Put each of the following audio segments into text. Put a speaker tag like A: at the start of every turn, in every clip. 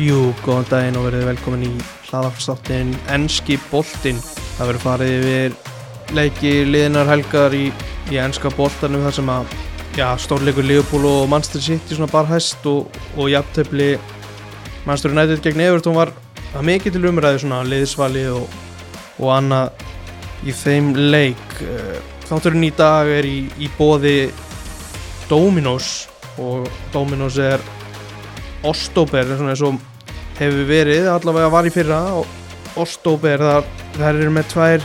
A: Jú, góðan daginn og verið velkomin í hlaðarstáttin Enski boltinn. Það verður farið yfir leiki liðinar helgar í, í enska boltanum þar sem að já, stórleikur Liverpool og Manchester City svona barhæst og, og jafntöfli Manchester United gegn Everton var að mikið til umræði svona liðsvali og, og annað í þeim leik. Eh, Þátturinn í dag er í, í bóði Dominos og Dominos er Ostober svona eins og hefur verið allavega var í fyrra og Ostober þar, þar eru með tvær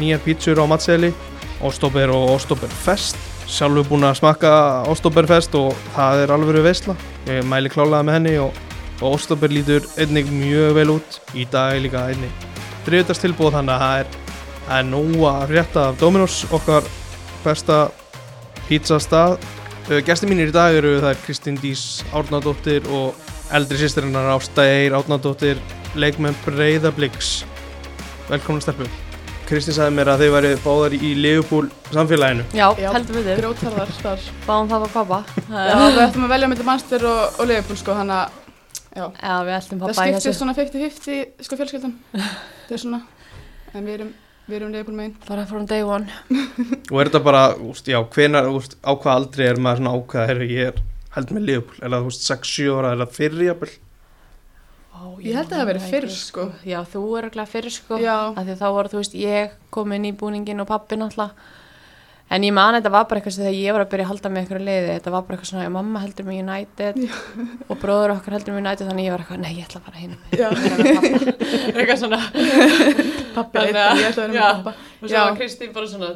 A: nýjar pítsur á matseli Ostober og Ostober Fest sjálfur búin að smakka Ostober Fest og það er alveg veisla ég mæli klálega með henni og, og Ostober lítur einnig mjög vel út í dag er líka einnig þriðutast tilbúð þannig að það er, það er nóg að frétta af Dominos okkar besta pítsastað Gæsti Eh, mínir í dag eru það er Kristín Dís Árnadóttir og eldri sýstirinnar Ástæðir Árnadóttir leikmenn Breiðabliks Velkomin stelpu Kristín sagði mér að þeir væri báðar í Leifupúl samfélaginu
B: Já,
C: Já.
B: heldur við þér,
C: grjótarðar þar
B: báðum pappa pappa
C: Já,
B: Já,
C: við ættum að velja mellir Manchester og, og Liverpool sko, þannig að já,
B: Já, við ætlum
C: það
B: pappa í
C: skiptir
B: þessu
C: svona 50-50 sko fjölskyldan það er svona, en við erum við erum Liverpool megin
B: Bara from day one
A: og er þetta bara, úst, já, hvenar úst, á hvað aldrei er maður svona ákvað herru, ég er held með Leifupúl, er það úst, 6-7 ára er það fyrir jafnvel
B: Ó,
C: Ég held að það
B: man
C: hafi verið
B: ekki,
C: fyrr, sko.
B: Já, þú er ekki fyrr sko
C: já,
B: Af því að þá voru, þú veist, ég komin í búningin og pappi náttúrulega En ég man að þetta var bara eitthvað sem þegar ég var að byrja að halda með ykkur liði Þetta var bara eitthvað svona, mamma heldur mig United Og bróður okkar heldur mig United Þannig ég var eitthvað, nei, ég ætla að fara hinn
C: já,
B: Eitthvað svona
C: pappi er eitthvað, ég ætla að vera með pappa Já.
B: Kristín bara svona,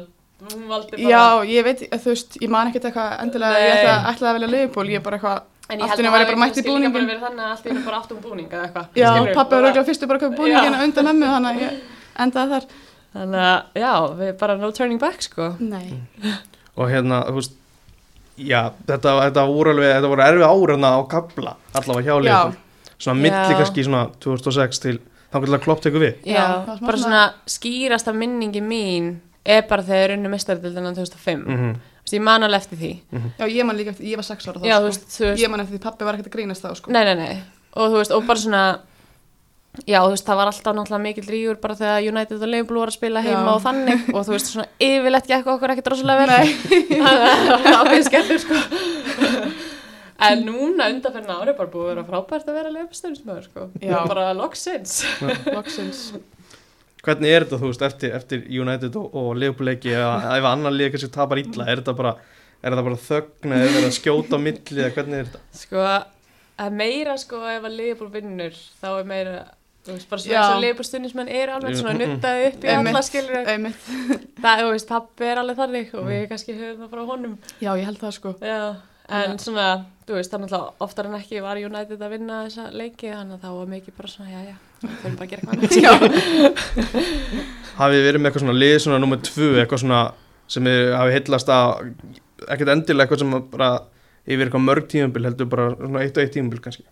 B: hún valdi
C: já, ég veit, þú veist, ég man ekkert eitthvað endilega, ég
B: Nei.
C: ætla, ætla að velja Liverpool ég er bara eitthvað,
B: En
C: Allt í einu var ég bara mætt í búninginn.
B: verið þannig að allt í henni bara áttum búning eða eitthvað.
C: já,
B: skilurðu,
C: pappi var
B: bara-
C: auðvitað fyrstu bara að köpa búningin undan ömmu, þannig að ég endaði þar
B: Þannig að, já, við bara no turning back, sko.
C: nei,
A: og hérna, þú veist já, þetta, þetta voru alveg, þetta voru erfið ára á kabla, allavega hjá
C: já,
A: Leifupúl svona milli
B: Já.
A: kannski svona 2006 til þá getur það klopp tekur við
C: Já,
B: Já,
C: það var smá
B: bara svona
C: svona-
B: skýrasta minningi mín er bara þegar unnu mestaradildina 2005. Mm.
A: -hmm.
B: Ég man alveg eftir því.
C: já, ég man líka eftir, ég var 6 ára þá
B: Já, þú
C: sko.
B: veist, þú veist,
C: ég man eftir því pappi var ekkert að grínast þá sko.
B: nei, nei, nei. Og þú veist, og bara svona, já, þú veist, það var alltaf náttúrulega mikil rígur bara þegar United og Liverpool voru að spila heima
C: Já.
B: og þannig. Og þú veist, svona yfirleitt gekk okkur ekkert rosalega vel. Þannig að það var ákveðin skellur, sko. En núna undanferna ári bara búið að vera frábært að vera leifstöðnismöður, sko.
C: Já.
B: Bara loksins.
C: loksins
A: Hvernig er þetta, þú veist, eftir, eftir United og, og Liverpool leiki eða ef annan leik kannski tapar illa, er þetta bara er þetta bara þögn eða er þetta að skjóta á milli eða hvernig er þetta?
B: Sko, að meira sko ef að Leifbúl vinnur, þá er meira, þú veist, bara svona
C: Já.
B: eins og Leifbúl stundismenn eru alveg svona
A: Mm, mm, mm.
B: nuttaði upp í
C: Einmitt.
B: alla skilur.
C: einmitt,
B: Það, þú veist, pappi er alveg þannig og við kannski höfum það frá honum.
C: já, ég held það sko
B: Já, en
C: Já.
B: svona, þú veist, þannig að oftar en ekki var United að vinna þessa leiki, þannig að þá var mikið bara svona, já, já, við þurfum bara að gera hvað annað.
A: Hafið þið verið með eitthvað svona lið svona nummer tvö, eitthvað svona sem þið hafið heillast að ekkert endilega eitthvað sem að bara yfir eitthvað mörg tímabil heldur bara svona eitt og eitt tímabil kannski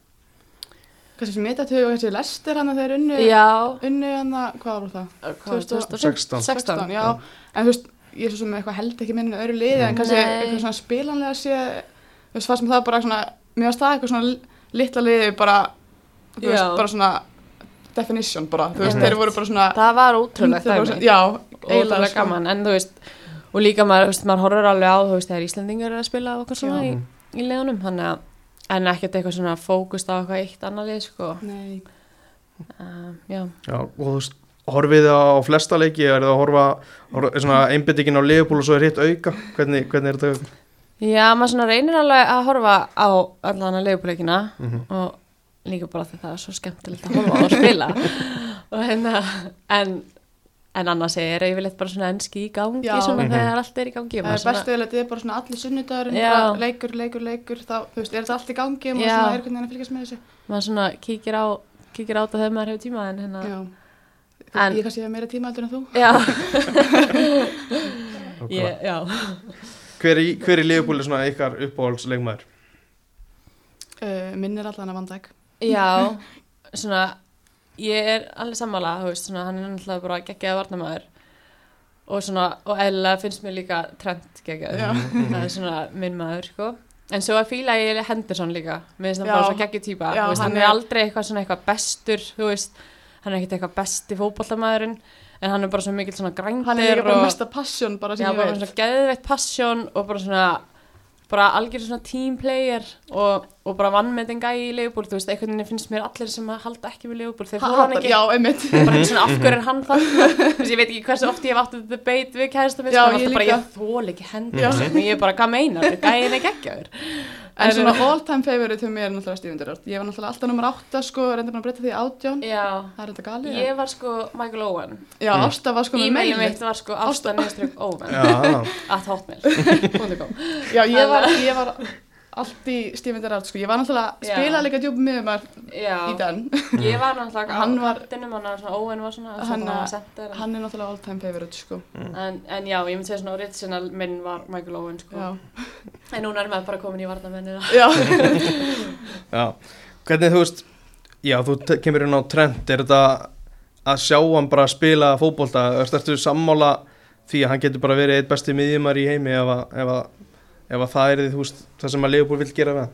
C: Kanski sem ég dættu og kannski lestir hana þegar unnu,
B: Já,
C: unnu hana, hvað var það?
B: hvað var
C: 2016?
B: 2016? 16.
C: já. En þú veist, ég er svo sem eitthvað held ekki minni öðru liði, en kannski
B: Nei.
C: eitthvað svona spilanlega sé, þú veist, það sem það bara svona, mér varst það eitthvað svona li- litla liði bara, þú veist,
B: Já.
C: bara svona definition bara, þú veist,
A: Einmitt.
C: þeir voru bara svona,
B: Það var ótrúlegt
C: 100%
B: dæmi.
C: já,
B: ótrúlega
C: sko.
B: gaman en þú veist og líka maður, þú veist, maður horfur alveg á þú veist þegar Íslandingar eru að spila og okkar svona
C: Já.
B: í, í leðunum þannig að en ekkert eitthvað svona fókust á eitthvað eitt annað lið sko
C: Nei,
B: um, já,
A: Já, og þú veist, horfið þið á flesta leiki eða er það að horfa, horfa svona einbyttingin á Liverpool og svo er hitt auka hvernig, hvernig er þetta?
B: já maður svona reynir alveg að horfa á allan að leiðupuleikina
C: Mhm.
B: og líka bara því það er svo skemmtilegt að horfa á að spila og hérna en en annars er yfirleitt bara svona enski í gangi
C: Já.
B: svona
A: Mhm.
B: þegar allt er í gangi og
C: það
B: maður
C: er bestu eða þetta er bara svona allir sunnudagurinn,
B: Já.
C: bara leikur, leikur, leikur, þá, þú veist, er þetta allt í gangi og maður
B: Já.
C: svona er einhvern veginn að fylgjast með þessu.
B: maður svona kíkir á kíkir á þetta þegar maður hefur tíma en hérna
C: Já.
B: En-
C: Ég kannski hef meira tíma heldur en þú.
B: já,
A: auka?
B: ég, já.
A: Hver í, hver í Liverpool er svona ykkar uppáhaldsleikmaður?
C: Uh, minn er allan að vandæk.
B: Já, svona ég er alveg sammála, þú veist svona, hann er náttúrulega bara geggjaði varnamæður og svona, og eðlilega finnst mér líka trend geggjaði,
C: Já.
B: það er svona minn maður, sko En svo að fíla ég Henderson líka, mér finnst það
C: Já.
B: bara svo geggju týpa,
C: Já,
B: Þú veist, hann
C: hann
B: er
C: er-
B: aldrei eitthvað svona eitthvað bestur, þú veist, hann er ekkert eitthvað besti fótbollamæðurinn, en hann er bara svo mikill svona grændir
C: hann er líka bara
B: og-
C: mesta passion bara sem
B: Já,
C: ég
B: bara
C: veit
B: svona geðveitt passion og bara svona bara algjör svona team player og, og bara vannmetin gæi í Leopold þú veist, einhvern veginn finnst mér allir sem að halda ekki við Leopold þeir
C: Hann
B: fóla hann
C: hatar-
B: ekki
C: já, einmitt
B: bara eitthvað svona af hverju er hann það þess að ég veit ekki hversu oft ég hef átt þetta beit við kæðistum minn,
C: Já,
B: þannig
C: ég
B: að bara
C: líka.
B: ég þól ekki hendur
C: Já.
B: og ég er bara, hvað meinar, þetta gæin ekki ekki aður
C: en svona all time favorite hjá mér er náttúrulega Steven Gerrard ég var náttúrulega alltaf nummer 8 sko reyndi bara að breyta því í 18
B: Já,
C: það er þetta galið
B: ég var sko Michael Owen
C: já, Ásta var sko með
B: E-mailið
C: mailið.
B: mitt var sko Ásta Nestrug Owen
A: Já,
B: at hotmail.com
C: já, ég var, ég var allt í Steven Gerrard sko ég var náttúrulega
B: Já.
C: spilað líka djúpum miðumar í
B: Já,
C: den
B: ég var náttúrulega
C: Hann
B: hann var,
C: var-
B: kantinum, hann var svona Owen var svona,
C: Hann
B: hann var
C: að-
B: center
C: hann er náttúrulega all time favorite sko
B: en, en já, ég myndi segja svona original minn var Michael Owen sko.
C: já,
B: en núna er maður bara komin í varnamennina
C: já.
A: já Hvernig þú veist Já, þú te- kemur inn á trend Er þetta að sjá hann bara spila fótbolta Ertu sammála því að hann getur bara verið eitt besti miðjumar í heimi ef að, ef að, ef að það er því, þú veist, það sem að Leopold vil gera við hann?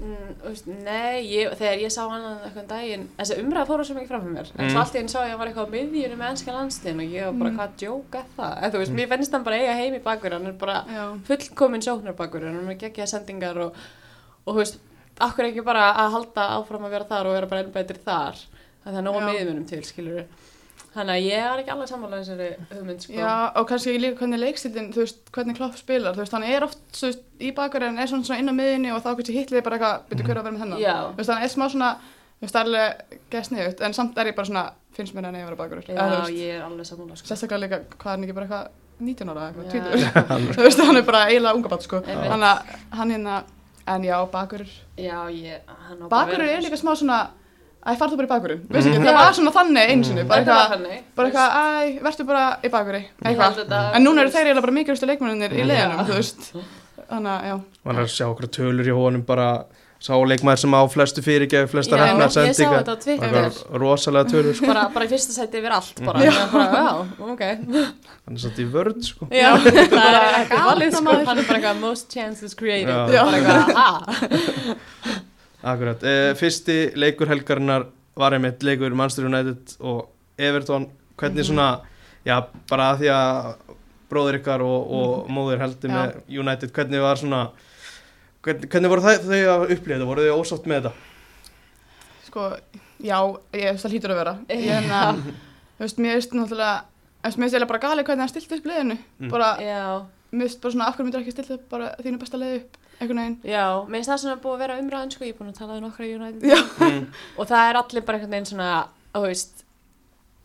B: mm, þú veist, nei, ég, þegar ég sá hann eitthvað daginn, þessi umræða fóru svo mikið fram fyrir mér en
A: Mm.
B: svo allt í enn sá ég að hann var eitthvað á miðjunni með ennska landsliðin og ég var bara,
C: Mm.
B: hvað djók er það en þú veist, mér finnst hann bara eiga heim í bakverð hann er bara
C: já.
B: fullkomin sóknarbakur hann er með geggja sendingar og, og þú veist, akkur ekki bara að halda áfram að vera þar og vera bara enn betri þar þannig að það er nóg
C: Já.
B: miðjumunum til, skilur þannig að ég er ekki alveg sammála þessari hugmynd, sko
C: Já, og kannski líka hvernig leikstildin, þú veist, hvernig klopp spilar, þú veist, hann er oft, þú veist, í bakverðin er svona, svona inn á miðinni og þá kannski hitlið bara eitthvað, byrju hverju að vera með þennan.
B: Já.
C: Þú veist, hann er smá svona, þú veist, það er alveg gæst niður, en samt er ég bara svona, finnst mér hann eigi að vera bakverður.
B: Já, ég er alveg sammála sko.
C: Sérstaklega líka, hvað er hann ekki bara eitthvað 19 ára, eitthvað
B: Já.
C: 20, þú veist, hann er bara eiginlega unga bat, sko.
B: Einmitt.
C: Þannig að hann hérna, en já, bakverður.
B: Já, ég, hann á bara að vera
C: Bakverður er
B: þess.
C: líka smá svona, æ, farðu bara í bakverðin,
B: Mhm.
C: veist ekki, það var svona þannig einu sinni, bara
B: Þetta var
C: eitthvað,
B: þannig
C: bara
B: þú veist,
C: eitthvað, æ, verður bara í bakverði,
B: ég
C: eitthvað.
B: held þetta-
C: En núna eru þeir eiginlega bara mikilvægstu leikmennir í leðanum,
B: Já.
C: þú veist. Þannig að, já.
A: Man er að sjá okkur tölur í honum bara sá leikmaður sem á flestu fyrirgefi, flesta
B: Já,
A: hefna
B: ég sá
A: sendinga
B: þetta á Twitter.
A: Bara rosalega tölur sko.
B: bara, bara í fyrsta sæti yfir allt bara, já. bara já, ok
A: hann er satt í vörð sko.
B: já, það er
C: Bara
B: eitthvað
C: galið,
B: galið
C: sko.
B: sko hann er bara eitthvað most chances created
A: Já.
B: bara eitthvað, "Ah." ha
A: Akkurat, e, fyrsti leikur helgarinnar var einmitt leikur Manchester United og Everton
C: Mhm.
A: hvernig svona, já bara að því að bróðir ykkar og, og móðir heldur
C: Mhm. Já.
A: með United hvernig var svona hvernig, hvernig voru þau, þau að upplifa þetta, voru þau ósátt með þetta?
C: Sko, já, ég, það hlýtur að vera. Ég en að, þú veist, mér veist náttúrulega, þú veist, mér veist eiginlega bara galið hvernig hann stilt upp liðinu.
A: Mm.
C: Bara,
B: já,
C: mér veist bara svona, af hverju myndir ekki stilt upp bara þínu besta leið upp, einhvern veginn.
B: já, mér finnst það svona búið að vera umræðan sko, ég er búin að tala við nokkra í United
C: Já.
B: og það er allir bara einhvern veginn svona þú veist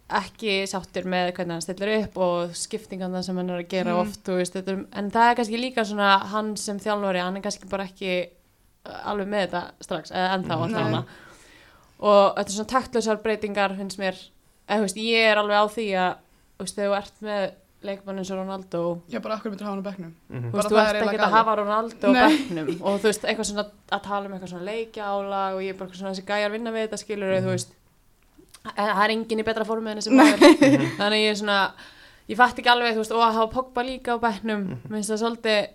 B: ekki sáttir með hvernig hann stillir upp og skiptingan það sem hann er að gera
C: Mm.
B: oft þú veist, þetta, er- en það er kannski líka svona hann sem þjálfari, hann er kannski bara ekki uh, alveg með þetta strax eða ennþá
A: Mhm.
B: mm.
C: Nei.
B: alltaf og þetta er svona taktlausar breytingar finnst mér, eða þú veist, ég er alveg á því að þú veist, þegar þú ert með leikmann eins og Ronaldo
C: Já, bara af hverju myndir hafa hann á bekknum.
A: Mhm.
B: þú veist, þú
C: Bara það
B: ert
C: er
B: ekkert
C: eiginlega
B: að hafa Ronaldo á
C: Nei.
B: bæknum og þú veist, eitthvað svona að tala um eitthvað svona leikjálag og ég er bara eitthvað svona þessi gæjar vinna við þetta skilur þú veist, það það er engin í betra formið en þessi maður
C: Mhm.
B: þannig að ég er svona, ég fatt ekki alveg þú veist, og að hafa Pogba líka á bæknum minnst það svolítið,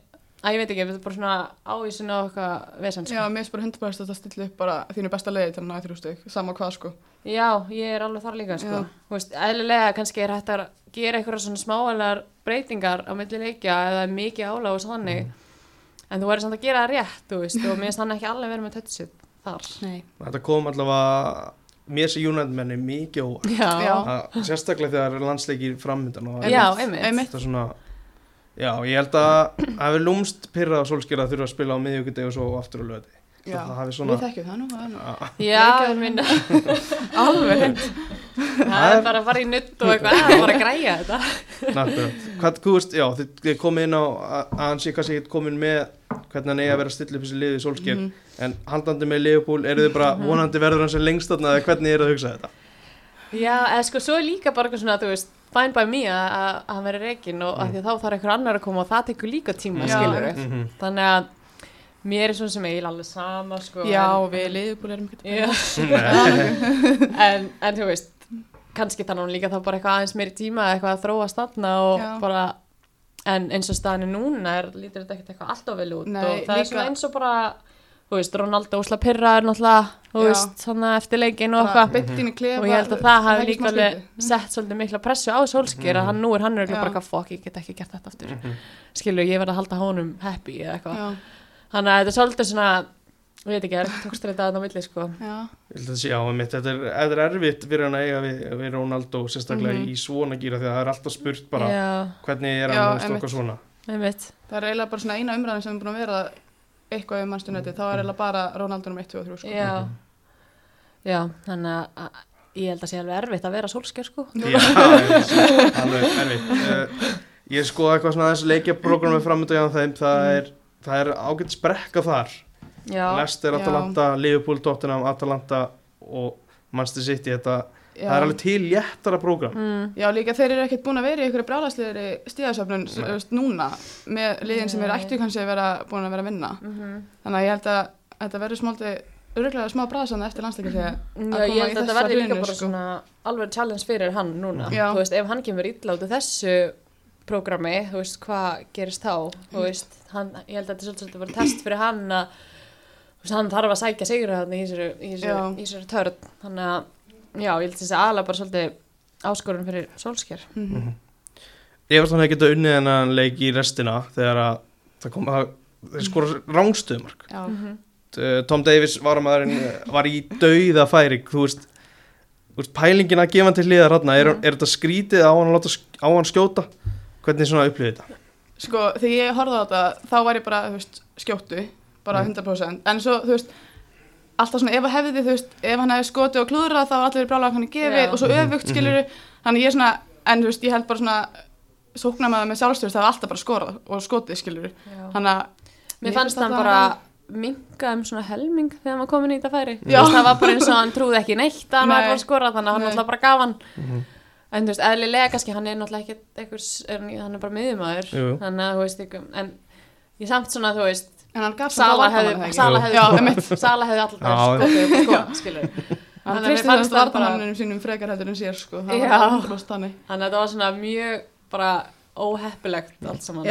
B: að ég veit ekki, þetta er bara svona ávísun á eitthvað vesens
C: Já,
B: já.
C: mér veist bara 100% að það stilt upp bara þínu besta leið til að næða þrjú stygg, sama hvað, sko.
B: já, ég er alveg þar líka sko.
C: Já.
B: þú veist, eðlilega kannski er hægt að gera eitthvað svona smáalar breytingar á milli leikja eða mikið álag og þannig en þú verður samt að gera það rétt, þú veist, og mér finnst hann ekki alveg verið með tötsið þar.
C: Nei.
A: Þetta kom allavega mér sem United menni mikið og
B: Já,
C: Já.
A: sérstaklega þegar landsleikir framöndan og það
B: já
C: Einmitt.
B: einmitt.
C: Einmitt.
A: þetta er svona Já, ég held að það hefur lúmst pyrrað á solskjara að þurfa að spila á miðjögundeg og svo aftur á löði.
C: Já,
A: Það hafi svona...
C: við þekkjum það nú, það er nú.
A: Ah,
B: Já,
C: Leikjaður.
B: minn,
C: Alveg.
B: það er bara að fara í nutt og eitthvað, það er bara að græja þetta.
A: Akkurat. Hvað, þú veist, já, þið, þið komið inn á að að hann sé kannski ekkert komin með hvernig hann eigi að vera að stilla upp þessi liðið í solskjör
C: Mhm.
A: en haldandi með Leopold, eru þið bara vonandi verður hann sem lengst þarna eða hvernig eru að hugsa þetta?
B: Já, eða sko, svo er líka bara eitthvað svona, þú veist, fine by me að að- að hann veri reygin og mm. því að þá þarf einhver annar að koma og það tekur líka tíma,
C: Já.
B: skilur við.
C: Mhm.
B: Þannig að mér er svona sem eiginlega alveg sama, sko.
C: Já,
B: en-
C: við liðbúl erum ekki
B: Já, en, en þú veist, kannski þannig að hún líka þá bara eitthvað aðeins meiri tíma eða eitthvað að þróa stanna og
C: Já.
B: bara en eins og staðinu núna er, lítur þetta ekkert eitthvað alltaf vel út
C: Nei,
B: og það er svona
C: líka-
B: eins og bara þú veist, Ronaldo Úsla Pirra er náttúrulega þú
C: Já.
B: veist, svona eftir leikin og eitthvað
C: Bittin í klefa
B: og ég held að það hafi
C: ekki
B: líka
C: smá
B: alveg
C: skrítið?
B: sett svolítið mikla pressu á Solskjær að hann nú er hann er bara
C: Já.
B: eitthvað fokk, ég get ekki gert
A: Mm.
B: þetta aftur
C: Mhm.
B: skilur, ég verð að halda honum happy eða eitthvað,
C: Já,
B: þannig að þetta er svolítið svona ég veit ekki, það er tókst þetta að það milli sko
C: já,
A: Ég held að sé á mitt, þetta er, þetta er erfitt fyrir hann að eiga við, við Ronaldo sérstaklega
C: Mhm.
A: í svona gíra því að það er alltaf spurt bara
B: já,
A: hvernig er
C: Já,
A: hann og
C: einmitt.
A: okkar svona
B: einmitt
C: það er eiginlega bara svona eina umræðin sem er búin að vera eitthvað um mannstjónætti,
A: Mm.
C: þá er eiginlega bara Ronaldunum 1, 2 og 3 sko.
B: já, já, þannig að- að ég held að sé alveg erfitt að vera Solskjær sko
A: Já, alveg alveg erfitt uh, Ég skoða eitthvað svona aðeins leikjaprógrammi framöndu hjá þeim, það er, það er ágætt sprekka þar
B: já,
A: Leicester,
C: Já.
A: Atalanta, Liverpool, Tottenham, Atalanta og Manchester City þetta,
C: Já.
A: það er alveg til léttara prógram
B: mm,
C: Já, líka þeir eru ekkert búin að vera í einhverju brjálæslegri stíðasöfnun
A: Nei.
C: núna með liðin sem eru
B: Nei.
C: ættu kannski að vera búin að vera að vinna.
B: mhm.
C: Þannig að ég held að þetta verður smáldi öruglega smá brasan eftir landsleika þegar
B: Já, ég held
C: koma í
B: að þetta
C: þessa
B: verði líka
C: línu,
B: bara
C: sko.
B: svona alveg challenge fyrir hann núna
C: Já.
B: þú veist, ef hann kemur illa út af þessu prógrami, þú veist, hvað gerist þá þú veist, hann, ég held að þetta er svolítið að vera test fyrir hann að þú veist, hann þarf að sækja sigur hann í þessu, í þessu,
C: Já.
B: í þessu törn þannig að, já, ég held að þessi aðla bara svolítið áskorun fyrir sólsker
A: Ég veist hann hefði getað unnið hennan leik í restina þegar að það kom að þeir skora rángstöðumark
C: Já,
A: uh, Tom Davis varamæðurinn uh, var í dauða færing þú veist, þú veist pælingin að gefa hann til liðar hann er, er þetta skrítið á hann, að láta, sk- á hann skjóta hvernig svona upplýði þetta
C: sko þegar ég horfði á þetta þá var ég bara, þú veist, skjóttu, bara 100%. En svo, þú veist, alltaf svona ef að hefði, þú veist, ef hann hefði skotið og klúðrað þá var allir brjálæðar hann gefið
B: Já.
C: og svo öfugt skilur Þannig ég er svona, en þú veist, ég held bara svona sóknarmaður með sjálfstjórn það er alltaf bara skorað og skotið skilur Þannig að
B: mér fannst hann
C: þetta
B: bara
C: hafa-
B: minga um svona helming þegar hann var komin í þetta færi
A: Mm.
B: Þú
C: Já.
B: veist, það var bara eins og hann trúði ekki neitt að hann
C: Nei.
B: var að skora þannig að hann
C: Nei.
B: alltaf bara gaf hann
A: Mhm.
B: en þú veist, eðlilega kannski hann er náttúrulega ekki einhvers, er, hann- hann er bara miðjumæður
A: Jú.
B: þannig að þú veist ekki en ég samt svona þú veist
C: En hann gaf
B: Sala hefði, Sala
A: Jú.
B: hefði,
C: Já,
B: Sala hefði alltaf
A: Já,
B: skotið upp sko, skilur
C: Hann
B: Þannig að mér
C: treysti
B: fannst
C: það
B: það bara-
C: vartamannunum sínum frekar heldur en sér sko. Það
B: Já.
C: var alveg blóst þannig.
B: þannig að þetta var svona mjög bara óheppilegt allt saman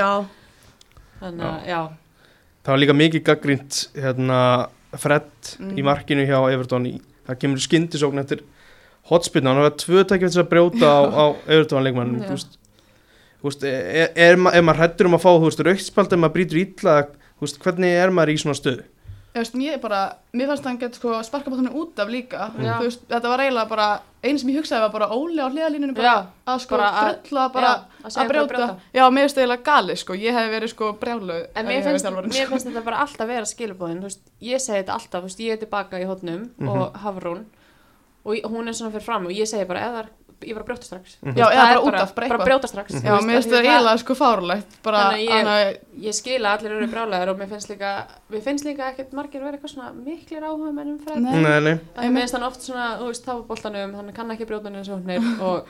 B: þannig að, já,
A: það var líka mikið gaggrínt hérna, Fred í markinu hjá Everton í, það kemur skyndisókn eftir hotspinna, hann var tvö tækja þess að brjóta á, á Everton leikmann
B: Já.
A: þú veist, þú veist, er, er, ma- ef maður hrættur um að fá þú veist, raukspald ef maður brýtur illa þú veist, hvernig er maður í svona stöðu
C: Þú veist, ég bara, mér fannst hann gett sko sparka bóttunum út af líka.
B: Já.
C: Þú veist, þetta var eiginlega bara, einu sem ég hugsaði var bara óli á hliðalínunum bara
B: Já,
C: að sko
B: bara
C: bara
B: að-
C: bara
B: já, að segja
C: að
B: bara að
C: brjóta.
B: brjóta.
C: Já, mér finnst það eiginlega gali sko, ég hef verið sko brjáluð.
B: En mér finnst, mér finnst þetta bara alltaf vera skilubóðin, þú veist, ég segi þetta alltaf, þú veist, ég er tilbaka í hotnum
C: Mhm.
B: og Hafrún og ég- hún er svona fyrir fram og ég segi bara, eða ég var að brjóta strax. Þú veist,
C: Mhm. sko. Já, eða
B: það er
C: bara út af, bara
B: Bara
C: eitthvað. Mhm.
B: brjóta strax. þú
C: Já,
B: veist, af
C: mér finnst
B: því
C: það
B: að
C: eiginlega sko fárulegt. Bara,
B: Þannig að ég-
C: þannig að,
B: Ég skila að allir eru brálaðar og mér finnst líka, mér finnst líka ekkert margir vera eitthvað svona miklir áhuga mennum fræð.
C: Nei.
A: Nei, nei.
B: Af því Mér finnst hann oft svona, þú veist, táfuboltanum, hann kann ekki brjóta neins og húnir og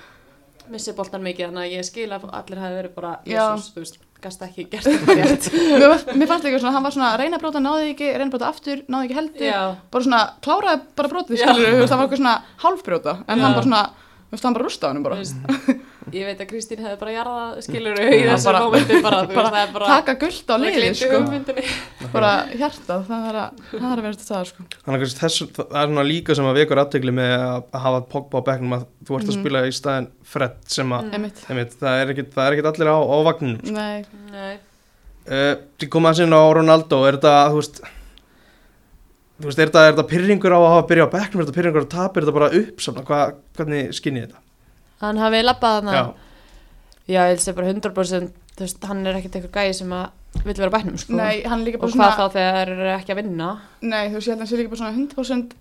B: missi boltan mikið, þannig að ég skila að allir hafi verið bara,
C: Já.
B: jésús, þú veist, gasta ekki gert þetta rétt.
C: mér, var- mér fannst líka svona, hann var svona að reyna að bróta, náði ekki, reyna að bróta aftur, náði ekki heldur.
B: Já.
C: bara svona kláraði bara
B: Já.
C: brotið skilur þú veist, það var eitthvað svona hálfbrjóta en
B: Já.
C: hann bara svona, þú veist, hann bara rústa á hennum bara,
B: Þú veist, ég veit að Kristín hefði bara jarðað skilur í þessu
C: bara-
B: mómenti bara, þú veist, það er bara
C: taka gullt á liði sko,
B: hugmyndinni
C: bara hjartað það er að, það er að vera þetta sko
A: Þannig að þess, það er svona líka sem að vekur aftegli með að að hafa Pogba á bekknum að þú ert að
C: Mhm.
A: spila í staðin Fred sem
B: Mm.
A: að,
C: emitt,
A: einmitt, það er ekkit, það er ekkit allir á, á vagnum.
C: nei,
B: Nei,
A: Uh, til koma að sinna á Ronaldo, er þetta, þú veist, þú veist, er þetta, er þetta pyrringur á að hafa að byrja á bekknum, er þetta pyrringur á tap, er þetta bara uppsamna, Hva, hvernig skinnið þetta?
B: hann hafi labbað hana
A: Já,
B: Já, ég helst bara 100% þú veist, hann er ekkert einhver gæi sem að vill vera á bæknum, sko
C: nei, hann er líka
B: og hvað
C: bara svona
B: þá þegar þeir eru ekki að vinna
C: nei, þú veist, ég held að hann sé líka bara svona 100%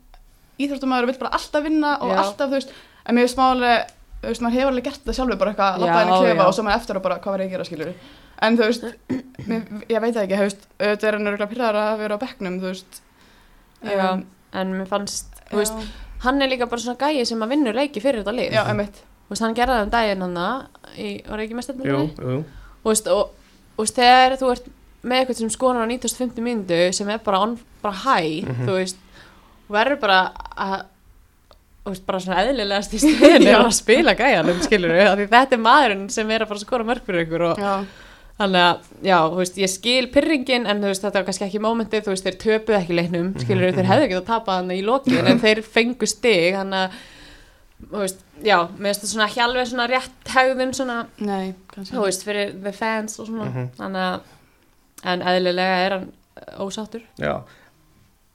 C: íþróttumæður og vill bara alltaf vinna og
B: Já.
C: alltaf, þú veist, en mér finnst málega þú veist, maður hefur alveg gert það sjálfur bara eitthvað að
B: Já,
C: lappa henni
B: já.
C: klefa og svo maður eftir og bara hvað var ég að gera skilur en þú veist, mér, ég veit það ekki, þú veist, auðvitað er hann örgulega pyrraður að vera á bekknum, þú veist
B: Já,
C: Um,
B: en mér fannst, þú veist
C: já.
B: hann er líka bara svona gæi sem að vinnur leiki fyrir þetta lið
C: Já, emitt.
B: Þú veist, hann gerði það um daginn hann var ekki mest
A: jú, jú,
B: og, veist, og, og veist, þegar þú ert með eitthvað sem skonar á 95. myndu sem er bara, on, bara hæ þú veist, og verður bara að þú veist, bara svona eðlilegast í stöðinu
C: Já.
B: að spila gæjanum, skilur við, því þetta er maðurinn sem er að fara að skora mörg fyrir ykkur og
C: Já,
B: Þannig að, já, þú veist, ég skil pyrringin en þú veist, þetta var kannski ekki mómentið, þú veist, þeir töpuð ekki leiknum, skilur þeir hefðu ekki að tapa þannig í lokin en þeir fengu stig, þannig að, þú veist, já, mér finnst þetta svona ekki alveg svona rétt hegðun svona,
C: Nei, kannski
B: þú veist, fyrir the fans og svona,
A: Mhm.
B: þannig að, en eðlilega er hann uh, ósáttur.
A: Já,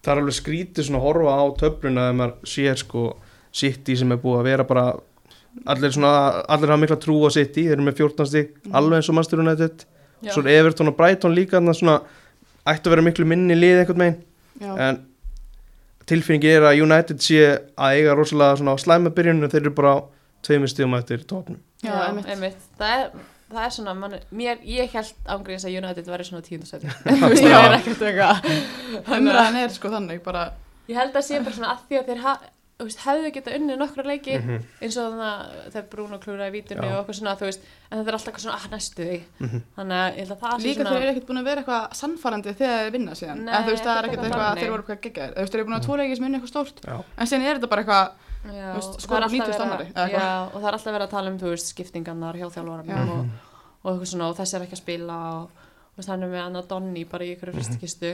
A: það er alveg skrítið svona að horfa á töfluna þegar maður sér sko City sem er búið að vera bara allir svona, allir hafa mikla trú á City þeir eru með 14 stík, alveg eins og Master United
B: Já.
A: svo er Everton og Brighton líka þannig að svona, ættu að vera miklu minni lið einhvern megin,
C: Já,
A: en tilfinningi er að United sé að eiga rosalega svona á slæma byrjunum þeir eru bara á tveimur stíðum eftir tóknum
C: já, einmitt.
B: Það er, það er svona, man, mér, ég held ángriðins að United væri svona tíundasæti, þú veist, það er
A: Já,
B: ekkert eitthvað. Þannig að-
C: Umræðan er sko þannig bara
B: Ég held að sé bara svona að því að þeir ha, þú veist, hefðu geta unnið nokkra leiki eins og þannig að þeir brún og klúra í vítunni
A: Mhm. Já. Mhm.
B: og okkur svona, þú veist, en þetta er alltaf eitthvað svona að næstu því, þannig að ég held að það sé
C: Líka
B: svona
C: þeir eru ekkert búin að vera eitthvað sannfærandi þegar þeir vinna síðan
B: Nei,
C: En þú veist, það er
B: ekkert eitthvað
C: ekkert eitthvað að
B: þannig.
C: þeir voru eitthvað geggjaðir Þú veist, þeir eru búin að tóra ekki sem unni eitthvað stórt
A: Mm. já,
C: En síðan er þetta bara eitthvað
B: já,
C: þú veist,
B: og
C: skora
B: það er alltaf
C: 90
B: verið
C: annarri,
B: að-
C: eða eitthvað.
B: já, og það er alltaf verið að tala um, þú veist, skiptingarnar hjá
A: Mhm.
B: þjálfvaranum
C: Já.
B: og, og eitthvað svona, og þessi er ekki að spila og, og þannig með Anna Donni bara í
A: Mhm.
B: ykkur fristikistu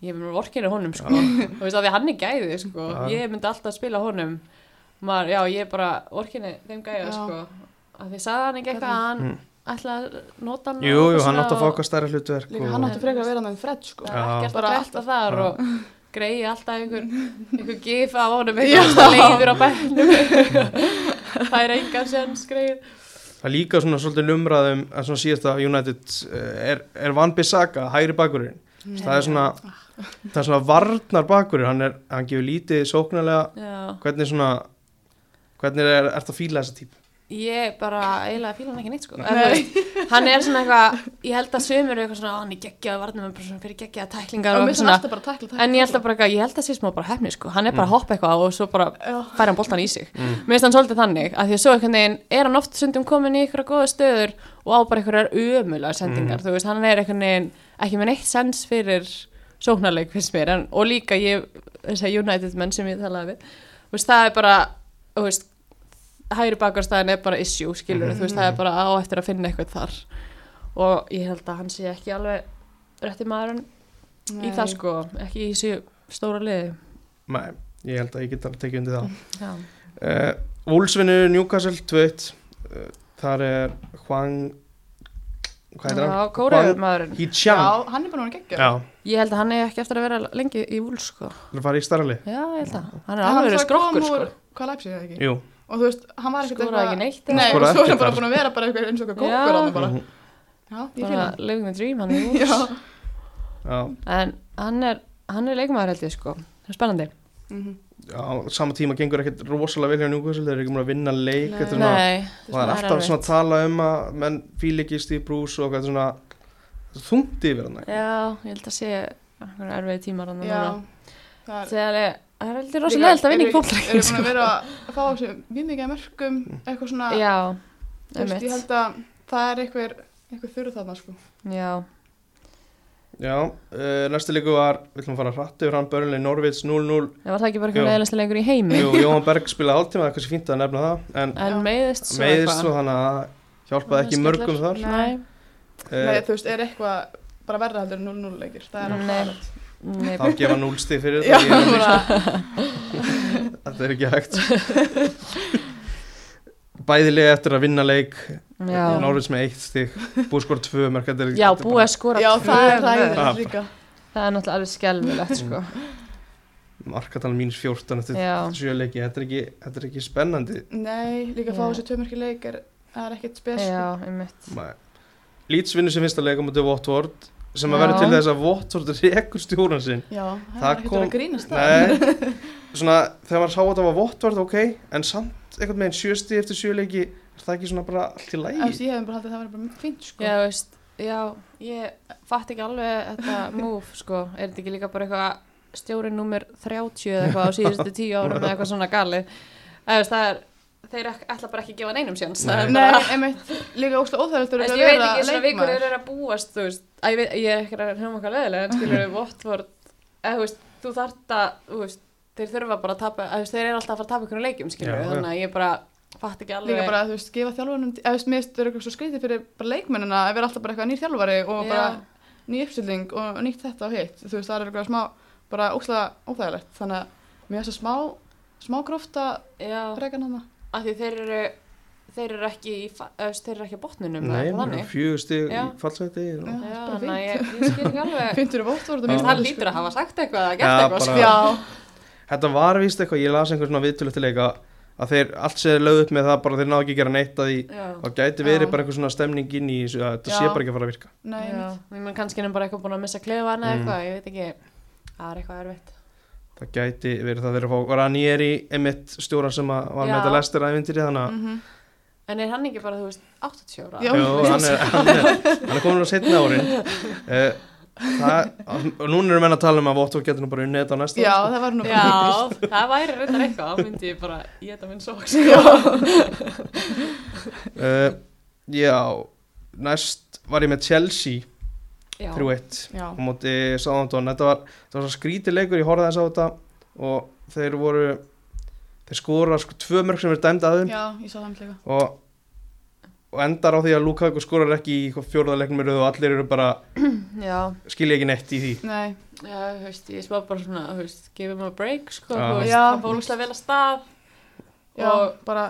B: ég er með vorkinu honum, sko og veist að því hann er gæði, sko
A: Já.
B: ég myndi alltaf spila honum Maður, já, ég er bara vorkinu þeim gæði,
C: Já.
B: sko að því sagði hann ekki eitthvað að hann
A: Mm.
B: ætlaði að nota hann
A: Jú, jú, hann átti að fá okkar stærra hlutverk
C: Líka
A: og-
C: hann átti frekar að vera hann en Fred sko
B: það er ekkert
C: Bara
B: að breyta þar
A: Já.
B: og greiði alltaf einhver, einhver gif af honum einhver leiður á bænum það er engan sens greið
A: Það er líka svona svolítið umræðum að svona síðast að United eh, er, er Van Bissaka, hægri bakurinn það er svona, það er svona varnar bakurinn, hann, er, hann gefur lítið sóknarlega,
B: já,
A: hvernig svona hvernig er, ert að fíla þessa típ
B: ég bara eiginlega fíla hann ekki neitt sko
C: Nei.
B: En, þú veist, hann er svona eitthvað, ég held að sömur eru eitthvað svona, "Ó, hann er geggjað varnum en bara svona fyrir geggjaða tæklingar
C: Og
B: og eitthvað
C: mér finnst hann
B: svona
C: alltaf bara að tækla tækla
B: en ég held að bara eitthvað, ég held að sé smá bara hefni sko hann er bara að hoppa eitthvað og svo bara
C: Já.
B: fær hann boltan í sig
A: Mm.
B: mér finnst hann svolítið þannig að því að svo einhvern veginn er hann oft sundum komin í ykkur góða stöður og á bara ykkur ömulega sendingar
A: Mm.
B: þú veist, hann er einhvern veginn ekki með neitt sens fyrir sóknarleik finnst mér en, og líka ég, þessi United menn sem ég talaði við þú veist, það er bara þú veist, hægri bakarstæðin er bara issue skilur, þú veist, það er bara á eftir að finna eitthvað þar og ég held að hann sé ekki alveg rétti maðurinn í það sko, ekki í þessu stóra liði
A: Nei, ég held að ég get að tekja undir það
B: Já,
A: uh, Wolfsvinnu Newcastle 2-1 uh, þar er Hwang hvað heitir hann?
B: Kóraður maðurinn
C: Já,
A: Hee-chan
C: hann er bara hann geggja
A: Já,
B: Ég held að hann er ekki eftir að vera lengi í vúl sko.
A: það fari í starrali
B: Já, ég held að Hann er alveg verið skrokkur sko.
C: Hvað læpsi það ekki?
A: Jú,
C: Og þú veist, hann var ekkert
B: Skoraði ekki neitt
C: Nei, og
A: Skoraði
C: svo er
A: ekkert
C: hann bara
A: þar.
C: búin að vera bara eitthvað eins og eitthvað
B: Já.
C: kókur hann bara
A: Mhm.
C: Já, ég finn
B: Bara
C: það
B: living the dream hann er í
C: Já,
B: vúl
A: já,
B: En hann er, hann er leikmaður held ég sko Það er spennandi
C: Mhm.
A: já, sama tíma gengur ekkert rosalega vel hjá Newcastle, þeir eru ekki múin að vinna leik
C: Nei.
A: þetta er svona-
B: Nei,
A: og það er alltaf svona að tala um að menn fíl ekki Steve Bruce og hvað svona þungt yfir hann ekki?
B: Já, ég held að sé einhverja erfiði tímar hann
C: já
B: núna.
C: Það er-
B: Þegar ég- Það er heldur
C: Líka,
B: rosalega held að vinna í
C: eru- Eru búin
B: fólkdreikin
C: að vera að fá á sig mjög mikið af mörgum eitthvað svona
B: Já,
C: þú veist, ég
B: einmitt
C: held að það er eitthvað eitthvað þurru þarna sko
B: Já,
A: Já, uh, næstu leiku var, við ætlum að fara hratt yfir hann Börnli Norvids 0-0,
B: það var það ekki bara
A: Jú.
B: einhverja leðilegsta leikur í heimi
A: Jú, Jóhann Berg spilaði hálftíma, það er kannski fínt að nefna það en
B: En
C: Já.
B: meiðist svo
A: meiðist
B: eitthvað.
A: svo þannig að hjálpaði ekki mörgum þar
B: Nei,
A: uh,
C: Nei, þú veist, er eitthvað bara verra heldur en 0-0 leikir það er
B: Nei.
C: alveg
B: nei,
A: Eh, þá gefa núlstig fyrir
C: Já,
A: þetta ég-
C: bara,
A: þetta er ekki hægt Bæðilega eftir að vinna leik
B: já.
A: Norvids með eitt stig, búið skor tvö mörg, þetta er-
B: já,
A: þetta er
B: búið að um skora
C: já,
B: tvö
C: það er
B: mörk.
A: Ah.
C: ræður líka
B: Það er náttúrulega alveg skelvilegt
C: Mm,
B: sko.
A: bara markatal mínus 14 eftir
B: Já,
A: sjö leiki, þetta er ekki, þetta er ekki spennandi
C: Nei, líka
B: Já.
C: fá á sig tvö mörki leik er, það er ekkert spes sko.
B: já, einmitt
A: Leeds vinnur sem fyrsta leikum áttu Votvort sem að
B: Já.
A: verður til þess að Votvort rekur stjóran sinn
C: Já, það
A: Það
C: er ekkert
A: kom-
C: verið að grínast það
A: Nei, svona þegar maður sá að það var Votvort ok, en samt einhvern veginn sjösti eftir sjöleiki, er það ekki svona bara allt í
C: Þú veist,
A: lægi?
C: Ég hefði bara haldið að það væri bara fínt sko
B: Já, veist, já, ég fatt ekki alveg þetta move sko. Er þetta ekki líka bara eitthvað stjórið númer 30 eða eitthvað á síðustu tíu árum eða eitthvað svona galið Eða, veist, Það er, þeir ek- ætla bara ekki að gefa neinum séns Það er
C: Eh, Nei,
B: bara
C: einmitt, líka óslega óþægilegt
B: Þú
C: að
B: veist, ég
C: vera
B: veit ekki svona vikur
C: leikmaður.
B: þeir eru að búast, þú veist, að ég, veit, ég er ekki að hljóma okkar leðilega, en skilur við Votvort, eða þú veist, þú þart að, þú veist, þeir þurfa bara að tapa, að þú veist, þeir eru alltaf að fara að tapa einhvern leikjum, skilur
A: Já,
B: við,
A: já.
B: þannig að ég bara, fatt ekki alveg
C: líka bara, þú veist, gefa þjálfarnum eða þú veist, mér stöður eitthvað svo skrítið fyrir bara leikmennina að vera alltaf bara eitthvað nýr þjálfari og
B: Já.
C: bara ný uppstilling og nýtt þetta og hitt þú veist, það er eitthvað smá, bara óslega óþægilegt þannig að mér er svo smá smá gróft að
B: já,
C: reyka náma
B: af því þeir eru þeir eru ekki í, fa- eða, þú veist, þeir eru ekki á botninum eða
A: Nei,
B: eitthvað
A: bara
B: þannig.
A: fjögur stig í
B: Já.
A: fallsæti og-
C: Já,
B: já,
C: bara
B: þannig að ég, ég skil ekki alveg
C: Fyndur er vótt voruð
A: Já.
B: Mér finnst hann lítur að hafa sagt eitthvað eða
A: Já,
B: gert eitthvað
A: bara-
B: sko.
C: Já,
A: Þetta var víst eitthvað, ég las einhver svona viðtölu til leika að þeir allt séð lögð upp með það bara þeir ná ekki að gera neitt að því
B: Já.
A: og gæti verið
C: Já.
A: bara einhver svona stemning inn í þessu að þetta
C: Já.
A: sé bara ekki að fara að virka
C: nei,
B: Já,
C: einmitt.
B: ég menn kannski erum bara eitthvað búin að missa klefana mm.
A: Mm.
B: eitthvað, ég veit ekki, það er eitthvað erfitt.
A: það gæti verið það verið að fá Ranieri einmitt stjóra sem að var með
B: Já.
A: þetta lestir aðeintýri þannig
C: Mhm.
B: En er hann ekki bara, þú veist, 80 ára?
C: Já.
A: að Jú, hann er, hann er, hann er komin á setna árin uh, það, og núna erum enn að tala um að Votto getur nú bara unnið þetta á næsta
C: Já,
A: ári, sko.
C: það var nú bara
B: Já,
C: krítískt.
B: það væri reyndar eitthvað, þá myndi ég bara, ég þetta minn sók, sko.
A: Eh, já, næst var ég með Chelsea
B: Já,
A: 3-1
C: Já,
A: á móti Sáðantón þetta var, þetta var svo skrítið leikur, ég horfði þess á þetta og þeir voru þeir skora sko tvö mörg sem er dæmd aðum
C: já, ég sá það um líka
A: og, og endar á því að Lukaku skorar ekki í fjórðalegnum og allir eru bara,
B: já,
A: skilja ekki neitt í því
C: Nei,
B: já, þú veist, ég smá bara svona, þú veist, give him a break, sko,
A: Já.
B: þú veist,
C: Já.
B: hann fór úrslega vel að stað
C: já,
B: og,
C: bara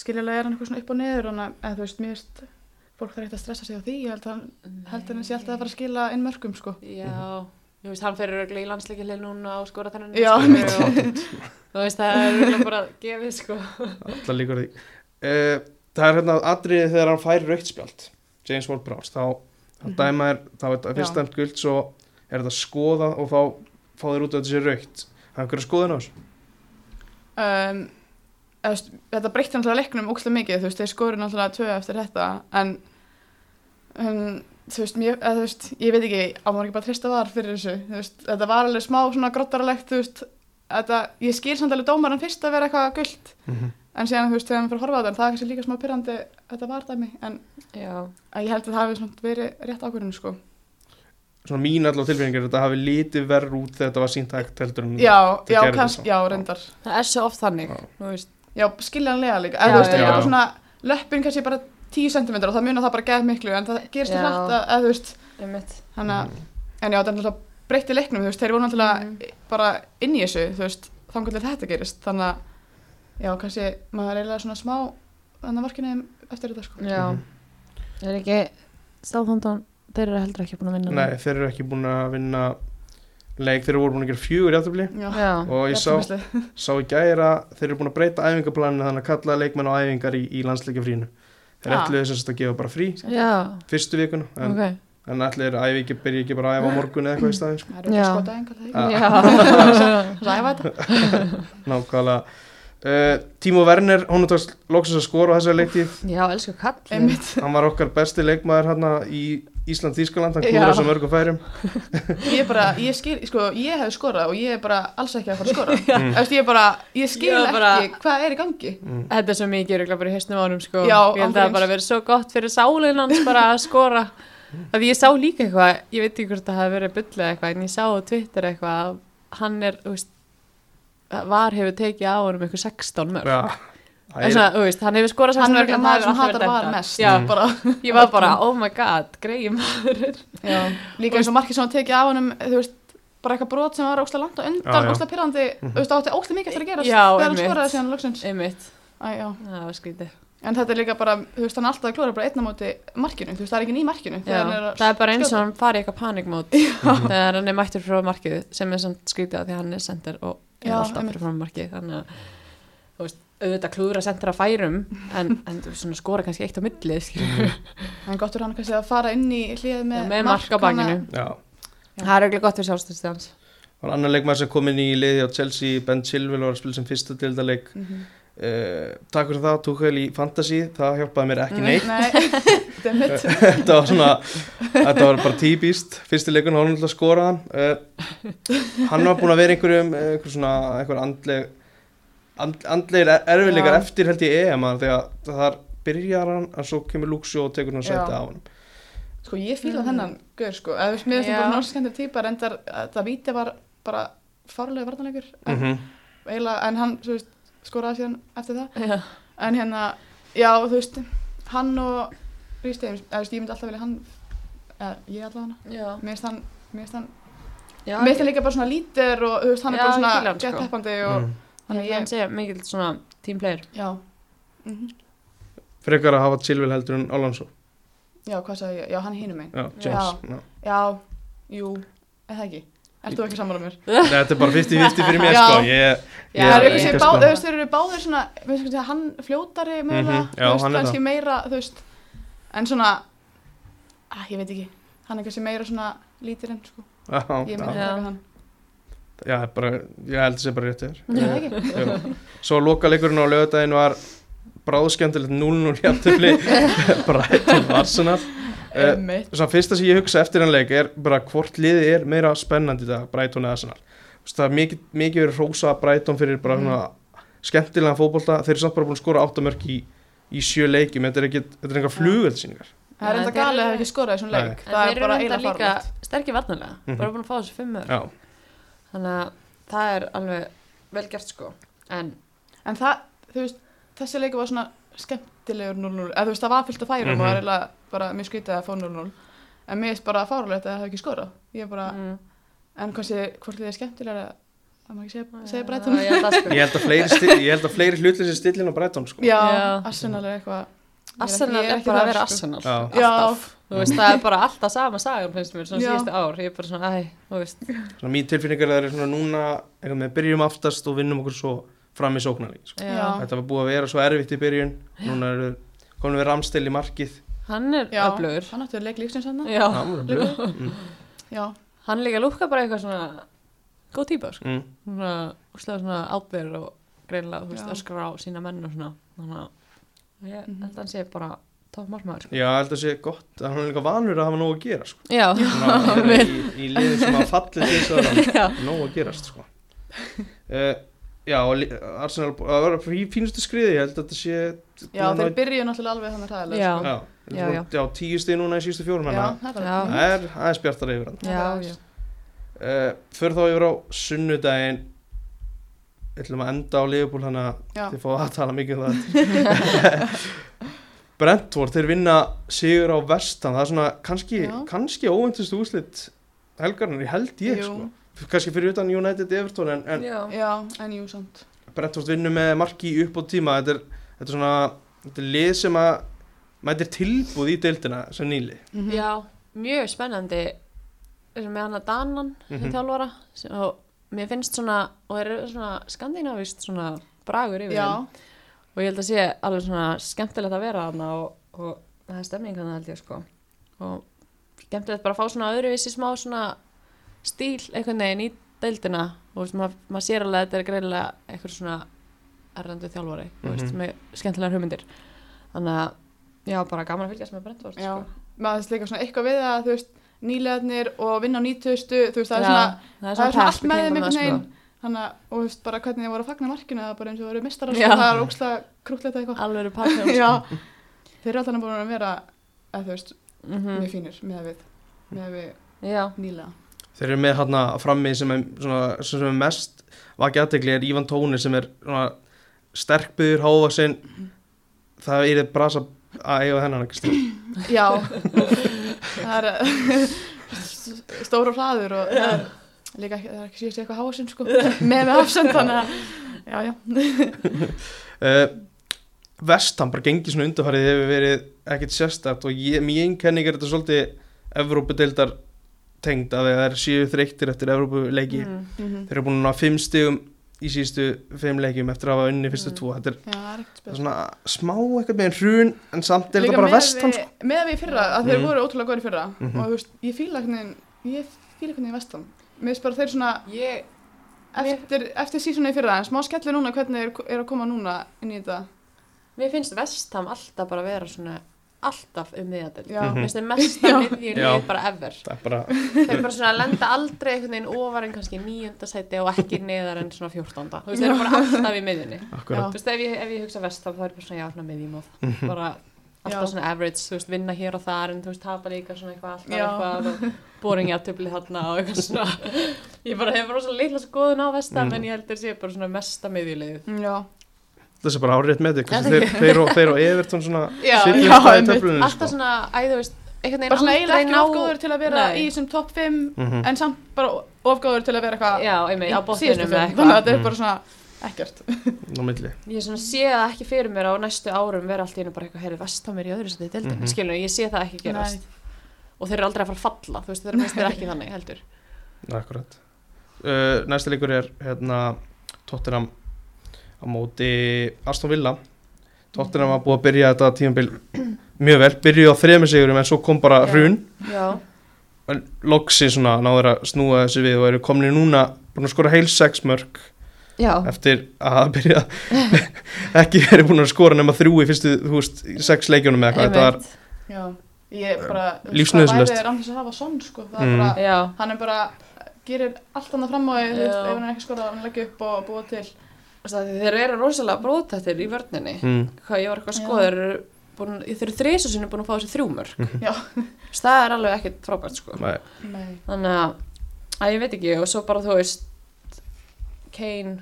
C: skiljulega er hann eitthvað svona upp og neður en að, þú veist, mér veist fólk þarf ekkert að stressa sig á því ég held að hann heldur hann sé alltaf að fara að skila inn mörgum sko
B: Já, þú veist, hann fyrir örglega í landsleikileg núna og skora þennan.
C: Já,
B: sko,
C: mitt.
B: og- Þú veist, það er örglega bara gefið, sko.
A: allar líkur á því uh, það er hérna atriðið þegar hann fær raukt spjald James Ward-Prowse þá hann
C: Mhm.
A: dæma er, þá er þetta
C: Já.
A: fyrst dæmt guld svo er þetta skoða og þá fá þeir út af þessi raukt hann hverju skoðin á þessu
C: um, eða, þú veist, þetta breytti náttúrulega leiknum ókslega mikið, þú veist, þeir skoru náttúrulega tvö eftir þetta, en um, þú veist, mér, eða, þú veist, ég veit ekki á maður ekki bara trista var fyrir þessu þú veist, þetta var alveg smá svona grottaralegt þú veist, þetta, ég skil samt alveg dómaran fyrst að vera eitthvað guld en síðan, þú veist, þegar hann fyrir að horfa á þetta, en það er kannski líka smá pyrrandi þetta var dæmi, en
B: Já,
C: að ég held að það hafi svona verið rétt ákvörðinu, sko
A: svona mín allar tilfinningar þetta hafi litið verð út þegar þetta var sínt hægt heldur en
C: já,
A: Mm. þau
C: já,
A: gerðu
C: kannski,
A: það.
C: já, reyndar
B: það er svo oft þannig,
A: Já.
B: þú veist.
C: Já, skiljanlega líka,
B: Já,
C: en þú veist,
A: já,
C: það
A: já.
C: er svona löppin kannski bara 10 cm og það munar það bara geð miklu en það gerist
B: Já. Mhm.
C: það hlætt að, að þú veist,
B: Einmitt.
C: þannig að en já, það er náttúrulega breytti leiknum, þú veist, þeir voru náttúrulega
B: Mhm.
C: bara inn í þessu, þú veist þannig að þetta gerist, þannig að já, kannski, maður er eiginlega svona smá þannig að markinu eftir þetta, sko
B: Já,
A: Mhm.
B: það er ekki Sáþondon, þeir eru heldur ekki búin að vinna
A: Mhm. nei, þeir eru ekki búin að vinna leik, þeir eru voru búin að gera fjögur játtöfli
C: Já,
B: Já,
A: og ég sá,
C: jafnteflisleik.
A: sá í gæra þeir eru búin að breyta æfingaplaninu þannig að kalla leikmenn á æfingar í, í landsleikjafrínu þeir
C: Ah.
A: ætluðu þess að gefa bara frí
B: já,
A: fyrstu vikuna en
B: ok
A: En allir æfi ekki, byrja ekki bara að æfa á morgun eða eitthvað í staðin sko.
C: Það eru ekki
B: Já.
C: skotað engar
A: Já.
C: það
B: Já,
C: Ræfa þetta
A: Nákvæmlega uh, Tímo Werner, hún tókst loksins að skora á þessari leiktíð
B: já elsku kall
C: Einmitt.
A: Hann var okkar besti leikmaður hérna í Ísland-Þískaland Hann
C: Já.
A: klúra svo mörgum færum
C: Ég bara, ég skil, sko, ég hef skorað og ég er bara alls ekki að fara að skora Þú veist, ég bara, ég skil
B: Já,
C: ekki
B: bara-
C: hvað er í gangi
B: Þetta er svo mikið röglega bara í höstnum ánum sko
C: Já,
B: Ég held að það
C: ángríns.
B: bara verið svo gott fyrir sálinn hans bara að skora Það ég sá líka eitthvað, ég veit ekki hvort það hafi verið bullið eitthvað En ég sá á Twitter eitthvað að Hann er, þú veist Var hefur tekið á honum eitthvað 16 mörg
A: Já, Það
B: En
A: er-
B: svona, þú veist, hann hérna hefur skorað
C: hann
B: 16
C: er
B: mörg
C: ekki
B: en
C: maður sem
B: það hefur
C: hatar
B: alltaf
C: var
B: verið dæmt
C: mest
A: Mm.
B: Já,
C: bara,
B: ég var bara, oh my god, greiði maður
C: já. líka eins og margir sem hann tekið af honum þú veist, bara eitthvað brot sem var óslega langt
A: Já,
C: og undan
A: já. Mhm.
C: óslega pyrrandi, þú veist, átti óslega mikið eftir að
B: Já,
C: gerast þegar hann
B: einmitt.
C: skoraði síðan loksins
B: Einmitt,
C: Æ, já.
B: það var skrítið
C: en þetta er líka bara, þú veist, hann er alltaf að klóra bara einn á móti markinu, þú veist, það er ekki ný markinu
B: Já,
C: þegar hann er að
B: það er bara eins og
C: skjóta.
B: hann fari í eitthvað panikmót þegar hann er mættur frá markið sem er samt skrítið að því að hann er sendir og er
C: Já,
B: alltaf
C: einmitt.
B: fyrir frá markið þannig að þú veist, auðvitað klúður að sendir að færum en, en þú veist, svona skora kannski eitt á millið skilur.
C: en gott er hann kannski að fara inn í hlið
B: Já,
C: með,
B: með mark á bakinu
A: já
B: það er auðvitað gott fyrir sjálfstöðstu hans
A: Var annar leikmaður sem kom inn í liði á Chelsea Ben Chilwell var að spila sem fyrsta dildaleik
C: mm -hmm.
A: uh, Takk fyrir það, Tuchel í Fantasy Það hjálpaði mér
B: Mm.
A: ekki neitt
C: nei, demmit
A: Þetta var svona Þetta var bara típist Fyrsti leikun, hann var náttúrulega að skora hann uh, Hann var búin að vera einhverjum eh, einhver svona, einhver andleg and, andlegir er- erfiðleikar
C: Já.
A: eftir held ég EM að þegar þar byrjar hann en svo kemur Luxio og tekur hann
C: Já.
A: sæti af hann
C: sko, ég fíla
B: Mm.
C: þennan gaur, sko, eða þú veist, mér finnst
B: Já.
C: hann bara náttúrulega típa, reyndar, það víti var bara fárlega vartanleikur, en
A: mm -hmm.
C: eiginlega, en hann, þú veist, skoraði síðan eftir það
B: Já.
C: en hérna, já, þú veist hann og Rís Davies, eða, þú veist, ég myndi alltaf vilja hann eða, ég alltaf hana,
B: Já,
C: mér finnst hann mér finnst hann,
B: já
C: mér finnst hann líka bara svona lítir og þú veist, hann
B: Já,
C: er bara
B: ég
C: svona
B: fíla hann, sko.
C: gett heppandi og
A: mm.
B: Þannig
C: þannig
B: að hann
C: ég,
B: sé mikill svona tímpleir
C: já mm
A: frekar að hafa Silvil heldur en Alonso
C: já, hvað sagði ég, já, hann er hinum einn
A: já, James já.
C: já, jú, eða ekki Ert þú ekki sammála mér?
A: Nei, þetta er bara 50-50 fyrir mér
C: Já.
A: sko ég,
B: Já,
A: ég
C: það eru ekki sem
A: enga
C: báðir,
A: skoðun.
C: þú veist, þeir eru báðir svona, við veist, hann fljótari mögulega,
A: Mhm, já,
C: þú veist,
A: hann er
C: kannski meira, þú veist, en svona, að, ég veit ekki, hann er kannski meira svona lítir enn, sko,
A: já, já,
C: ég myndi
B: Já.
C: taka hann.
A: já, bara, ég held þessi bara rétt
B: Já,
A: þér
B: ekki
A: Já. Svo lokaleikurinn á lögadaginn var bráðskemmtilegt 0-0 jafntöfli Brighton Arsenal uh,
C: Einmitt.
A: Svo fyrsta sem ég hugsa eftir hann leik er bara hvort liðið er meira spennandi í dag, Brighton eða Arsenal Þú veist, Það er mikið, mikið verið rósa Brighton fyrir bara svona skemmtilega fótbolta þeir eru samt bara búin að skora áttamörk í, í sjö leikjum, þetta er ekki, þetta er engar flugöldsýningar
C: Það
B: Já,
C: er enda
B: þeir
C: galið að
B: eru-
C: hafa ekki skorað í svona
A: Nei.
C: leik,
B: En
C: það
B: þeir
C: er
B: eru
C: bara
B: reyndar
C: eiginlega
B: líka
C: farlegt.
B: sterkir varnarlega
A: Mhm.
B: Bara búin að fá þessu fimmur
A: Já,
B: Þannig að það er alveg vel gert sko En
C: En það, þú veist, þessi leiku var svona skemmtilegur 0-0, eða þú veist, það var fyllt af færum
A: Mhm.
C: og það er eiginlega bara mjög skrítið að fá 0-0, en mér er bara farlegt að það hafa ekki skorað, ég er bara,
B: mm,
C: en kannski, hvort þið er skemmtilegur að, að maður ekki segja, segja breytum.
B: já, já, það sko.
A: ég held að fleiri, sti- ég held að fleiri hlutlið sem stillin á Brighton sko.
C: Já,
B: Já.
C: Arsenal er eitthvað ég er
B: Arsenal
C: ekki- ég
B: er bara
C: þar,
B: að vera
C: sko.
B: Arsenal
A: Já.
B: Alltaf Þú veist, það er bara alltaf sama sagan finnst mér svona
C: Já.
B: síðustu ár, ég er bara svona, æ, þú veist
A: Svona mín tilfinningar er svona núna einhvern veginn byrjum aftast og vinnum okkur svo fram í sóknarleik sko.
C: Já.
A: Þetta var búið að vera svo erfitt í byrjun Núna eru komin við Ramstil í markið
B: Hann er
C: Já,
B: öflugur
C: hann átti að leik lífsins hann
B: Já,
A: Það voru að byrja.
C: Já,
B: hann líka lúkka bara eitthvað svona góð típa, sko
A: Mm.
B: svona, úrslega svona ábyrður og greinlega, þú veist,
C: Já.
B: öskra á sína menn og svona þannig að ég
C: Mhm.
B: held að hann sé bara topp margmaður, sko
A: Já, ég held að sé gott að hann er líka vanur að hafa nóg að gera sko.
B: Já,
A: Svona að vera í, í liðum sem að falli til þess að
B: Já.
A: hann nóg að gerast sko. uh, Já, og li- Arsenal það var í fínustu skriði, ég held að þetta sé búin
C: já
A: að
C: þeir
A: ná-
C: byrjuðu náttúrulega alveg þannig ræðilega
B: Já.
A: Já, já,
B: Já,
A: já. já tíu stið núna í sístu fjórum
C: já,
A: hana.
C: þetta
B: Já.
C: var
A: Það er aðeins bjartar yfir hann
B: já, já
A: uh, Fyrir þá yfir á sunnudaginn Við ætlum að enda á Liverpool hana
C: Já.
A: Þið fóðu að tala mikið um það Brentford, þeir vinna sigur á vestan Það er svona kannski,
C: Já.
A: kannski óvæntustu úslit helgarnar, ég held ég
C: Jú.
A: sko. Kannski fyrir utan United Everton En, en
B: Já,
C: Já, en jú, samt
A: Brentford vinnur með marki upp á tíma Þetta er, þetta er svona þetta er lið sem að mætir tilbúð í deildina sem nýli
C: Mhm.
B: Já, mjög spennandi eins og með hann að Danan mm
A: Mhm.
B: þjálfara sem- og mér finnst svona og þeir eru svona skandinavist svona bragur yfir
C: Já,
B: þeim og ég held að sé alveg svona skemmtilegt að vera þarna og, og það er stemning hann held ég sko og skemmtilegt bara að fá svona öðruvísi smá svona stíl einhvern veginn í deildina og veist, maður mað sér alveg að þetta er greinilega einhver svona erlendu þjálfari mm veist,
A: Mhm.
B: með skemmtilegar hugmyndir þannig að já, bara gaman að fylgjast með Brentford
C: já
B: sko.
C: Maður þess líka svona eitthvað við að, þú veist, nýlegarnir og vinna á nýtustu, þú veist, það er
B: Já, það er
C: svona það
B: svona,
C: er svona
B: pepp
C: allt
B: í
C: með þeim
B: kringum það,
C: einhvern veginn
B: sko.
C: Þannig að, og þú veist, bara hvernig þið voru að fagna markinu, það er bara eins og þau voru mistarar,
B: Já.
C: sko, það er ógslag krútlegt eitthvað
B: alveg pakkum
C: sko. Já, þeir eru alltaf búin að vera, að þú veist,
B: mm -hmm.
C: mjög fínir með við, með við
B: já,
C: nýlega
A: Þeir eru með hann frammi sem er, svona, sem er mest vakið aðtegli er Ívan Tóni sem er svona, sterkbyður hávaksinn
C: Mhm.
A: það er eitthvað brasa að eiga þennan ekki stil
C: Já, það er st- stóra fræður og það er líka ekki, það er ekki síðast eitthvað hásinn sko, með með hafsend þannig að, já, já,
A: uh, Vestan bara gengið svona undarfærið hefur verið ekkit sérstætt og ég, mín kenning er þetta svolítið Evrópudeildar tengd að það er síðu þreyttir eftir Evrópuleiki
B: mm.
C: mhm.
A: þeir eru búin að ná fimm stigum í síðustu fimm leikjum eftir að hafa unni fyrstu
B: Mm.
A: tvo þetta er
C: já, það er
A: það
C: ekkert
A: er
C: spil.
A: svona smá eitthvað með hrun en samt er þetta bara vestan sko.
C: Með við í fyrra, að þeir
A: Mm.
C: voru ótrúlega góðir í fyrra
A: Mhm.
C: og þú veist, ég fíla hvernig, ég fíla hvernig vestan. Mér finnst bara þeir svona,
B: ég,
C: eftir, eftir sísunni í fyrra, en smá skellir núna hvernig er, er að koma núna inn í þetta.
B: mér finnst vestam alltaf bara vera svona alltaf um miðjadel
C: Já,
A: Mhm.
B: Mér finnst þeir mest að
A: Já.
B: miðjir bara ever
A: það er bara
B: Þeir bara svona lenda aldrei einhvern veginn ofar en kannski nýjönda sæti og ekki neðar en svona fjórtánda Þú veist, þeir eru bara alltaf í miðjunni
A: akkurat
B: Þú veist, ef ég, ef ég hugsa vestam þá er ég bara svona já, svona miðjum og
A: Mhm.
B: bara alltaf
C: Já.
B: svona average, þú veist, vinna hér og þar en þú veist, tapa líka svona eitthvað alltaf
C: Já.
B: eitthvað og boringi að töfli þarna og eitthvað svona ég bara hefur rosa litla skoðun á vestam
A: Mm.
B: Mm, en ég held heldur sé bara svona mesta miðjulegið
C: Já,
A: þessi er bara árið með
B: Já,
A: því þeir, þeir, og- þeir og Evertón svona
C: Já,
A: sitja
C: já,
A: í staði
C: einmitt.
A: töflunni sko.
B: alltaf svona, æ, þú veist einhvern
C: bara svona
B: veginn
C: eiginlega ekki of
B: aldrei
C: góður til að vera
B: Nei.
C: í þessum topp 5
A: Mhm.
C: en samt bara of góður til að vera
B: ná
C: eitthvað
B: já, einmitt, á
C: síðustu
B: botninum eða
C: fimm. þannig að
B: eitthvað
C: þetta er
A: Mhm.
C: bara svona ekkert
A: á milli
B: ég svona sé það ekki fyrir mér á næstu árum vera allt í einu bara eitthvað, heyrðu, vest á mér í öðru sem þið deildin,
A: Mhm.
B: skilur, ég sé það ekki gerast
C: Nei.
B: og þeir eru aldrei að fara að falla, þú veist, þeir eru mest ekki þannig heldur
A: Akkurat uh, Næsti leikur er hérna Tottenham á móti Aston Villa Tottenham var búið að byrja þetta tímabil mjög vel, byrjuði á þremur sigurum en svo kom bara
B: Já.
A: hrun
B: já,
A: En loksi svona náður að snúa þessu við og eru komni núna búin að skora heil sex mörg
B: já,
A: eftir að byrja ekki verið búin að skora nema þrjú í fyrstu þú veist, í sex leikjunum eða hvað þetta var
B: einmitt.
C: já, ég bara
A: Lífsnauðsynlegt.
C: það er andis að hafa sonn sko það
A: Mm.
C: er bara
B: já,
C: hann er bara gerir allt annað fram á því þú veist,
B: Já.
C: ef hann er ekki skorað hann leggja upp og búa til
B: Þú veist, þeir eru rosalega bróðtættir í vörninni
A: mm,
B: hvað ég var eitthvað að
C: Já.
B: skoða þeir eru búin, þeir eru þrisa sinni búin að fá þessi þrjúmörk
C: Já.
B: það er alveg ekkert frábært sko
A: Mhm. nei,
C: nei,
B: þannig að, að ég veit ekki og svo bara þú veist Kane,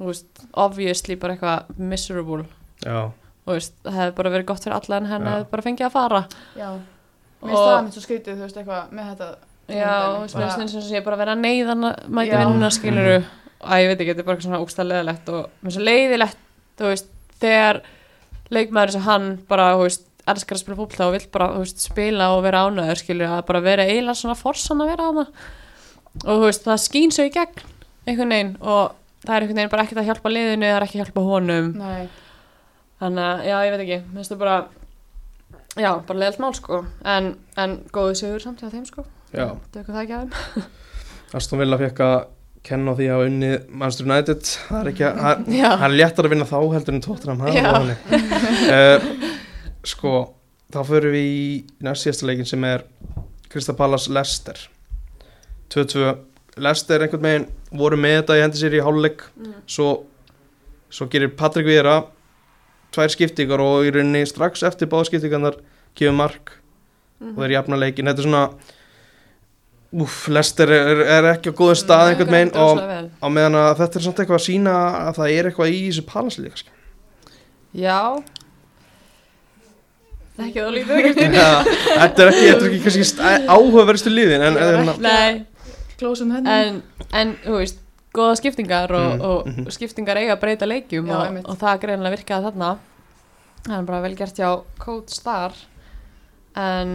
B: þú veist obviously bara eitthvað miserable
A: já,
B: þú veist, það hefði bara verið gott fyrir alla en hann
A: Já.
B: hefði bara fengið að fara
C: já
B: Og-
C: mér finnst það mitt svo skrítið þú veist eitthvað með þetta
B: já,
C: dæmi.
B: þú veist,
C: Bara-
B: mér finnst eins og ég bara verið að neyðan að mæta
C: Já.
B: vinnuna skiluru að ég veit ekki, þetta er bara eitthvað svona ógstæð leðilegt og mér finnst það leiðilegt, þú veist þegar leikmaður sem hann bara, þú veist, elskar að spila fólkta og vill bara, þú veist, spila og vera ánæður skilur að bara vera eiginlega svona forsan að vera á það og þú veist, það skýn svo í gegn einhvern veginn og það er einhvern veginn bara ekkert að hjálpa liðinu, það er ekki að hjálpa honum
C: nei
B: þannig að, já, ég veit ekki, mér finnst það bara já, bara leiðalt mál, sko en, en góðu sigur samt hjá þeim, sko
A: já
B: Tökum það ekki af þeim
A: Aston Villa fekk að kenna á því að hafa unnið Manchester United það er ekki að, það-
B: Já.
A: það er léttar að vinna þá heldur en Tottenham það
B: Já.
A: er þannig. uh, sko, þá förum við í næst síðasta leikin sem er Krista Pallas Lester 2-2, Lester einhvern veginn voru með þetta í hendi sér í háluleik
B: Mm.
A: svo, svo gerir Patrik Vera tvær skiptingar og í rauninni strax eftir báða skiptingarnar kemur mark
B: Mhm.
A: og þeir jafna leikin, þetta er svona Úf, Lester er, er ekki á góðu
B: Mm,
A: stað einhvern veginn og á meðan að þetta er samt eitthvað að sína að það er eitthvað í þessu sko. palasliði kannski
B: Já Ekki þá lítið ekki
A: þetta er ekki, þetta er ekki kannski stæ- áhugaverðustu liðin en,
C: Ég var
A: en,
C: ekki-
B: Nei,
C: klósum henni
B: en, en, þú veist góða skiptingar og,
A: Mm,
B: og
A: mhm.
B: skiptingar eiga að breyta leikjum
C: Já,
B: og,
C: einmitt.
B: og það greinlega virkaði þarna það er bara vel gert hjá Coach þar en,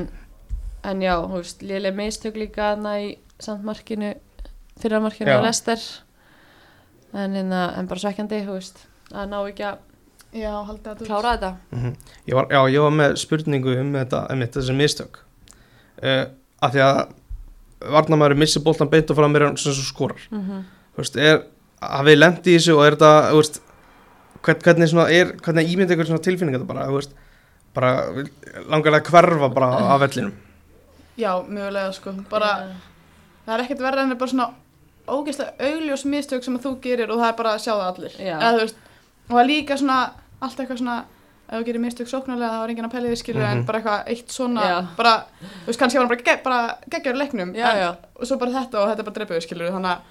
B: en já, þú veist léleg mistök líka þarna í sandmarkinu fyrramarkinu
A: Já.
B: og lester en, en, en bara svekkjandi, þú veist að ná ekki að
C: já, haldið að þú
B: klára þetta
A: Mhm. ég var, já, ég var með spurningu um þetta, um þetta sem mistök uh, af því að varnamæður missir boltan beint og fram er hann sem svo skorar
B: mm
A: Þú veist, er, að við lendi í þessu og er þetta þú veist, hvern- hvernig, svona, er, hvernig ímynd ykkur svona tilfinning þetta bara, þú veist, bara langar að hverfa bara af vellinum
C: já, mögulega sko bara það er ekkert verra en það er bara svona ógeðslega augljós mistök sem að þú gerir og það er bara að sjá það allir
B: Já.
C: Eða, þú veist, og það er líka svona allt eitthvað svona ef þú gerir mistök sóknarlega þá er enginn að pæli því skilur en
A: Mhm.
C: bara eitthvað eitt svona
B: Já.
C: bara, þú veist, kannski var hann bara, ge bara geggjör leiknum
B: já,
C: en,
B: já,
C: og svo bara þetta og þetta er bara drepaðu skilur þannig að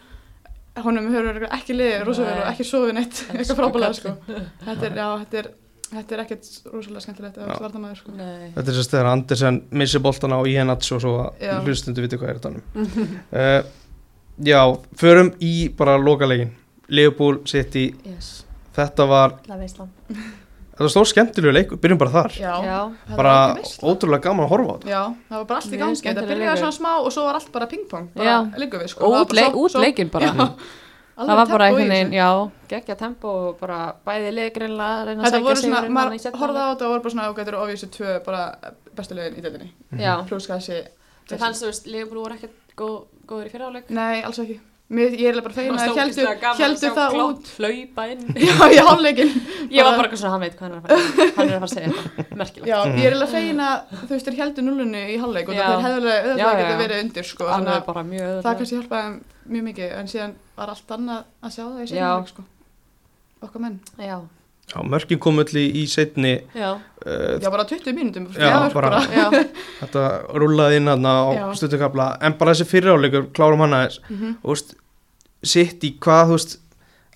C: honum hefur ekki liðið rosalega vel
B: Nei.
C: og ekki sofið neitt
B: Elsku
C: eitthvað frábælega sko
B: kallinn.
C: þetta er, já, þetta er, þetta er ekkert rosalega skemmtilegt
A: Já.
C: eða svartamæður sko
B: nei
A: Þetta er sérst þegar Andersen missir boltan á Ihenats og svo
C: Já.
A: að hlustundu viti hvað er þetta uh, Já, förum í bara lokalegin Leopold City,
B: yes.
A: þetta var
B: Það veislan
A: þetta var stór skemmtilegu leikur, byrjum bara þar
C: já,
B: Já,
C: þetta
A: bara
C: var ekki veist
A: ótrúlega gaman að horfa á
C: Já, það var bara allt í
B: Mjög
C: gangi, þetta
B: skemmtilegur
C: byrjaði
B: leikur.
C: svona smá og svo var allt bara pingpong,
B: Já.
C: bara líka við sko.
B: og út, leik, út leikinn bara það var bara einhvern veginn, já, geggja tempo og bara bæði leikrinlega reyna að
C: Þetta
B: sækja
C: voru svona,
B: sigurinn þarna í
C: maður
B: seinni
C: horfði á
B: leik.
C: þetta og voru bara svona og gætur ofið þessu tvö bara bestu leginn í deildinni.
B: já,
C: Plus kannski...
B: það fannst þú veist, Leopold voru ekkert góð, góður í fyriráleik
C: Nei, alls ekki. Mér, ég er eiginlega bara fegin að heldu, heldu það út.
B: flaupa inn
C: Já, í hálfleikin.
B: ég var bara eitthvað svona, hann veit hvað hann er að fara hann er að fara að segja þetta, merkilegt
C: Já,
A: Mhm.
C: ég er eiginlega fegin að þú veist, þeir heldu nullinu í hálfleik og
B: Já.
C: það er hefðulega
B: Já,
C: auðvitað
B: já,
C: getur
B: já.
C: verið undir sko.
B: hann
C: Þannig
B: er
C: að
B: bara mjög
C: það
B: öðvöld
C: kannski hjálpaði þeim mjög mikið en síðan var allt annað að sjá það í
B: Já.
C: seinni leik sko. Okkar menn.
B: já,
A: Já, mörkin kom öll í, í setni
B: já,
A: uh,
C: Já, bara 20 mínútum.
A: Já, bara-
B: já,
A: þetta rúlaði inn aðna á
C: Já.
A: stuttukabla en bara þessi fyriráleikur, klárum hana aðeins
C: Mhm.
A: og veist, sitt í hvað þú veist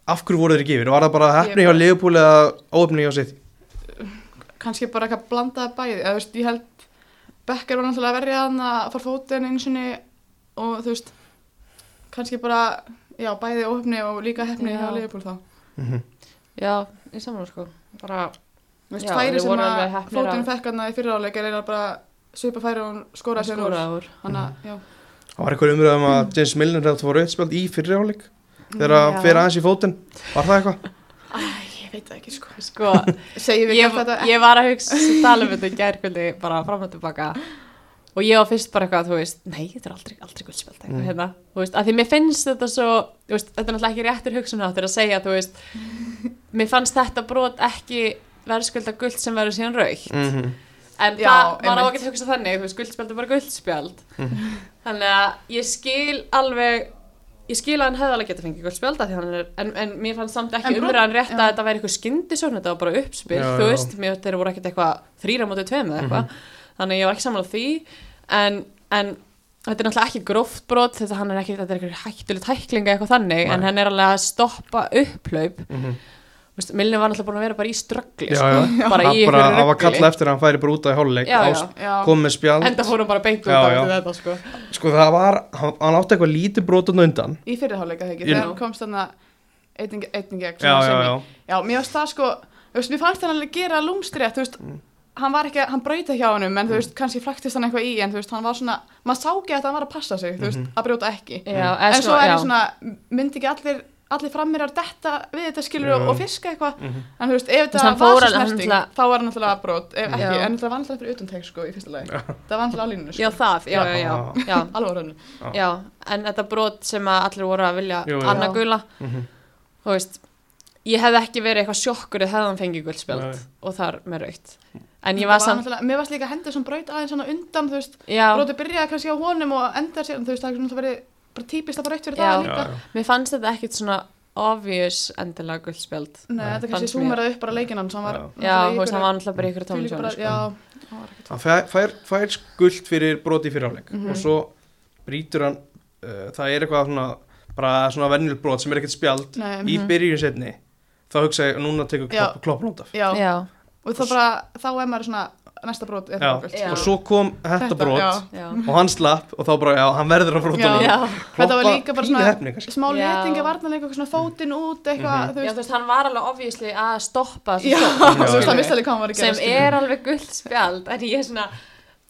A: af hverju voru þeir ekki yfir? Var það bara hefni
C: Ég-
A: hjá Leopold eða óöfni hjá sitt?
C: kannski bara eitthvað blandaði bæði eða, þú veist, ég held Becker var náttúrulega verið að að fara fótinn einu sinni og þú veist kannski bara, já, bæði óhefni og líka hefni
B: Já.
C: hjá Leifbúl þá
B: Já, í samanlega sko bara,
C: þú veist,
B: Já,
C: færi
B: þeir voru
C: sem
B: alveg
C: að
B: heppnir
C: fótinn
B: að-
C: fekk hann í fyriráleik er eiginlega bara svipa færi og hún skoraði sér úr
B: skóraði úr
C: þannig að, já,
A: Það var eitthvað umræðum að James Milner hefði fór auðspjöld í fyrri áleik þegar
B: Já.
A: að fyrir aðeins í fótinn. Var það eitthvað?
C: ég veit það ekki sko
B: Sko,
C: segjum við
B: ég,
C: ekki þetta
B: ég var að hugsa tala um þetta í gærkvöldi bara fram og tilbaka og ég var fyrst bara eitthvað, þú veist, nei, þetta er aldrei, aldrei guldspjöld eitthvað
A: Mm.
B: hérna, þú veist, að því mér finnst þetta svo, þú veist, þetta er náttúrulega ekki réttur hugsunháttur að segja, þú veist, mér fannst þetta brot ekki verðskulda guld sem verður síðan raukt
A: Mhm.
B: en
C: Já,
B: það var á
C: einmitt.
B: ekki að hugsa þannig þú veist, guldspjald er bara guldspjald
A: Mhm.
B: þannig að ég skil alveg ég skil að hann hefði alveg getað fengið guldspjald af því hann er, en, en mér fannst samt ekki
C: En brot-
B: umræðan rétt að
C: já.
B: þetta væri eitthvað skyndisókn þetta var bara
A: Já,
B: uppspil,
A: Mhm.
B: þú
A: já.
B: veist mér þeir voru ekkert eitthvað þrýra mótið tveim eða eitthvað þannig að ég var ekki sammála því en, en þetta er náttúrulega ekki gróft brot þetta, hann er ekki, þetta er eitthvað hættuleg tæklinga eitthvað þannig,
A: Nei.
B: en hann er alveg að stoppa upplaup
A: Mhm.
B: Þú veist, Milner var náttúrulega búin að vera bara í ströggli
A: Já, já.
B: sko, bara í
A: Það bara
B: einhverju
A: það var
B: rugli.
A: kalla eftir að hann færi bara út af háluleik
B: Já, já.
C: já,
A: kom með spjald
B: Enda fór hún bara beint út
A: Já,
B: af
A: já.
B: þetta sko
A: sko það var, hann, hann átti eitthvað lítið brotan undan
C: í fyrirháleika þegar ekki,
A: Ég-
C: þegar hann komst þannig að einning
A: já,
C: gegn svona
A: já,
C: semi.
A: já,
C: Já, mér finnst það sko, þú veist, mér fannst hann alveg gera lúmstrétt, þú veist, hann var ekki, hann brauti hjá honum, en þú veist, kannski flaktist hann eitthvað í, en þú veist, hann var svona, maður sá ekki að hann var að passa sig, þú veist, að brjóta ekki.
B: já, sko,
C: En svo er
B: já.
C: ég svona, myndi ekki allir, allir frammir að detta við þetta skilur
A: Já.
C: og, og fiska eitthvað,
A: Mhm.
C: en þú veist,
B: veist,
C: ef
B: hann
C: þetta var
B: fór
C: svo
B: alveg- hann
C: snerting,
B: náttúrulega-
C: þá var hann náttúrulega brot, ef ekki,
B: Já.
C: en þetta var náttúrulega fyrir utan teg, sko, í fyrsta lagi. Það var náttúrulega á línunni,
B: já
C: sko,
B: það, já, já, já, já,
C: alveg á raunum.
B: já En þetta brot sem að allir voru að vilja
A: Jú, jú.
B: annað
C: Já.
B: gula
A: Mhm.
B: Þú veist, ég hefði ekki verið eitthvað sjokkur eða hefði hann fengið guldspjöld
A: Nei.
B: og þar með raukt En ég
C: Það
B: var
C: var
B: samt,
C: náttúrulega- Mér varst líka hendur sem braut aðeins svona undan, þú veist,
B: já,
C: Bróti byrjaði kannski á honum og endar sér, en þú veist, það er svona verið bara típist að bara eitt fyrir
B: Já.
C: það
A: Já,
C: líka.
A: já.
B: mér fannst þetta ekkit svona obvious endilega guldspjöld
C: Nei, þetta kannski
B: Fannst mér.
C: súmeraði upp bara leikinn hans, hann var...
A: Já.
B: Já, þú veist, hann var náttúrulega bara í ykkur
C: tónum
B: tónlisjónu
C: svona,
B: sko.
C: sko. Já, hann var ekkert...
A: hann fær, fær, fær skuld fyrir broti fyrir áleik og svo brýtur hann uh, það er eitthvað svona bara svona venjul brot sem er ekkert spjald
C: Nei,
A: í
C: mhm.
A: byrjun setni þá hugsa ég núna tekur
C: Já.
A: klopp, kloppan út af
C: Já,
B: Já,
C: og þá bara, þá er maður svona, næsta brót er
A: Já.
C: frábært.
B: Já.
A: og svo kom þetta brot
B: já,
A: og hann slapp og þá bara já, hann verður að brota
C: Já.
A: núna
B: já
C: Þetta var líka bara svona-
A: hefni, kannski.
C: Smá
B: Já. Mhm.
C: letingi varnan eitthvað svona fótinn út,
B: Já,
C: eitthvað, þú
B: þú
C: veist...
B: veist, hann var alveg obviously að stoppa þessu
C: Já,
B: sókn,
C: þú veist,
B: skilurðu.
C: hann vissi alveg hvað hann var að gera.
B: sem er alveg guld spjald en ég er svona,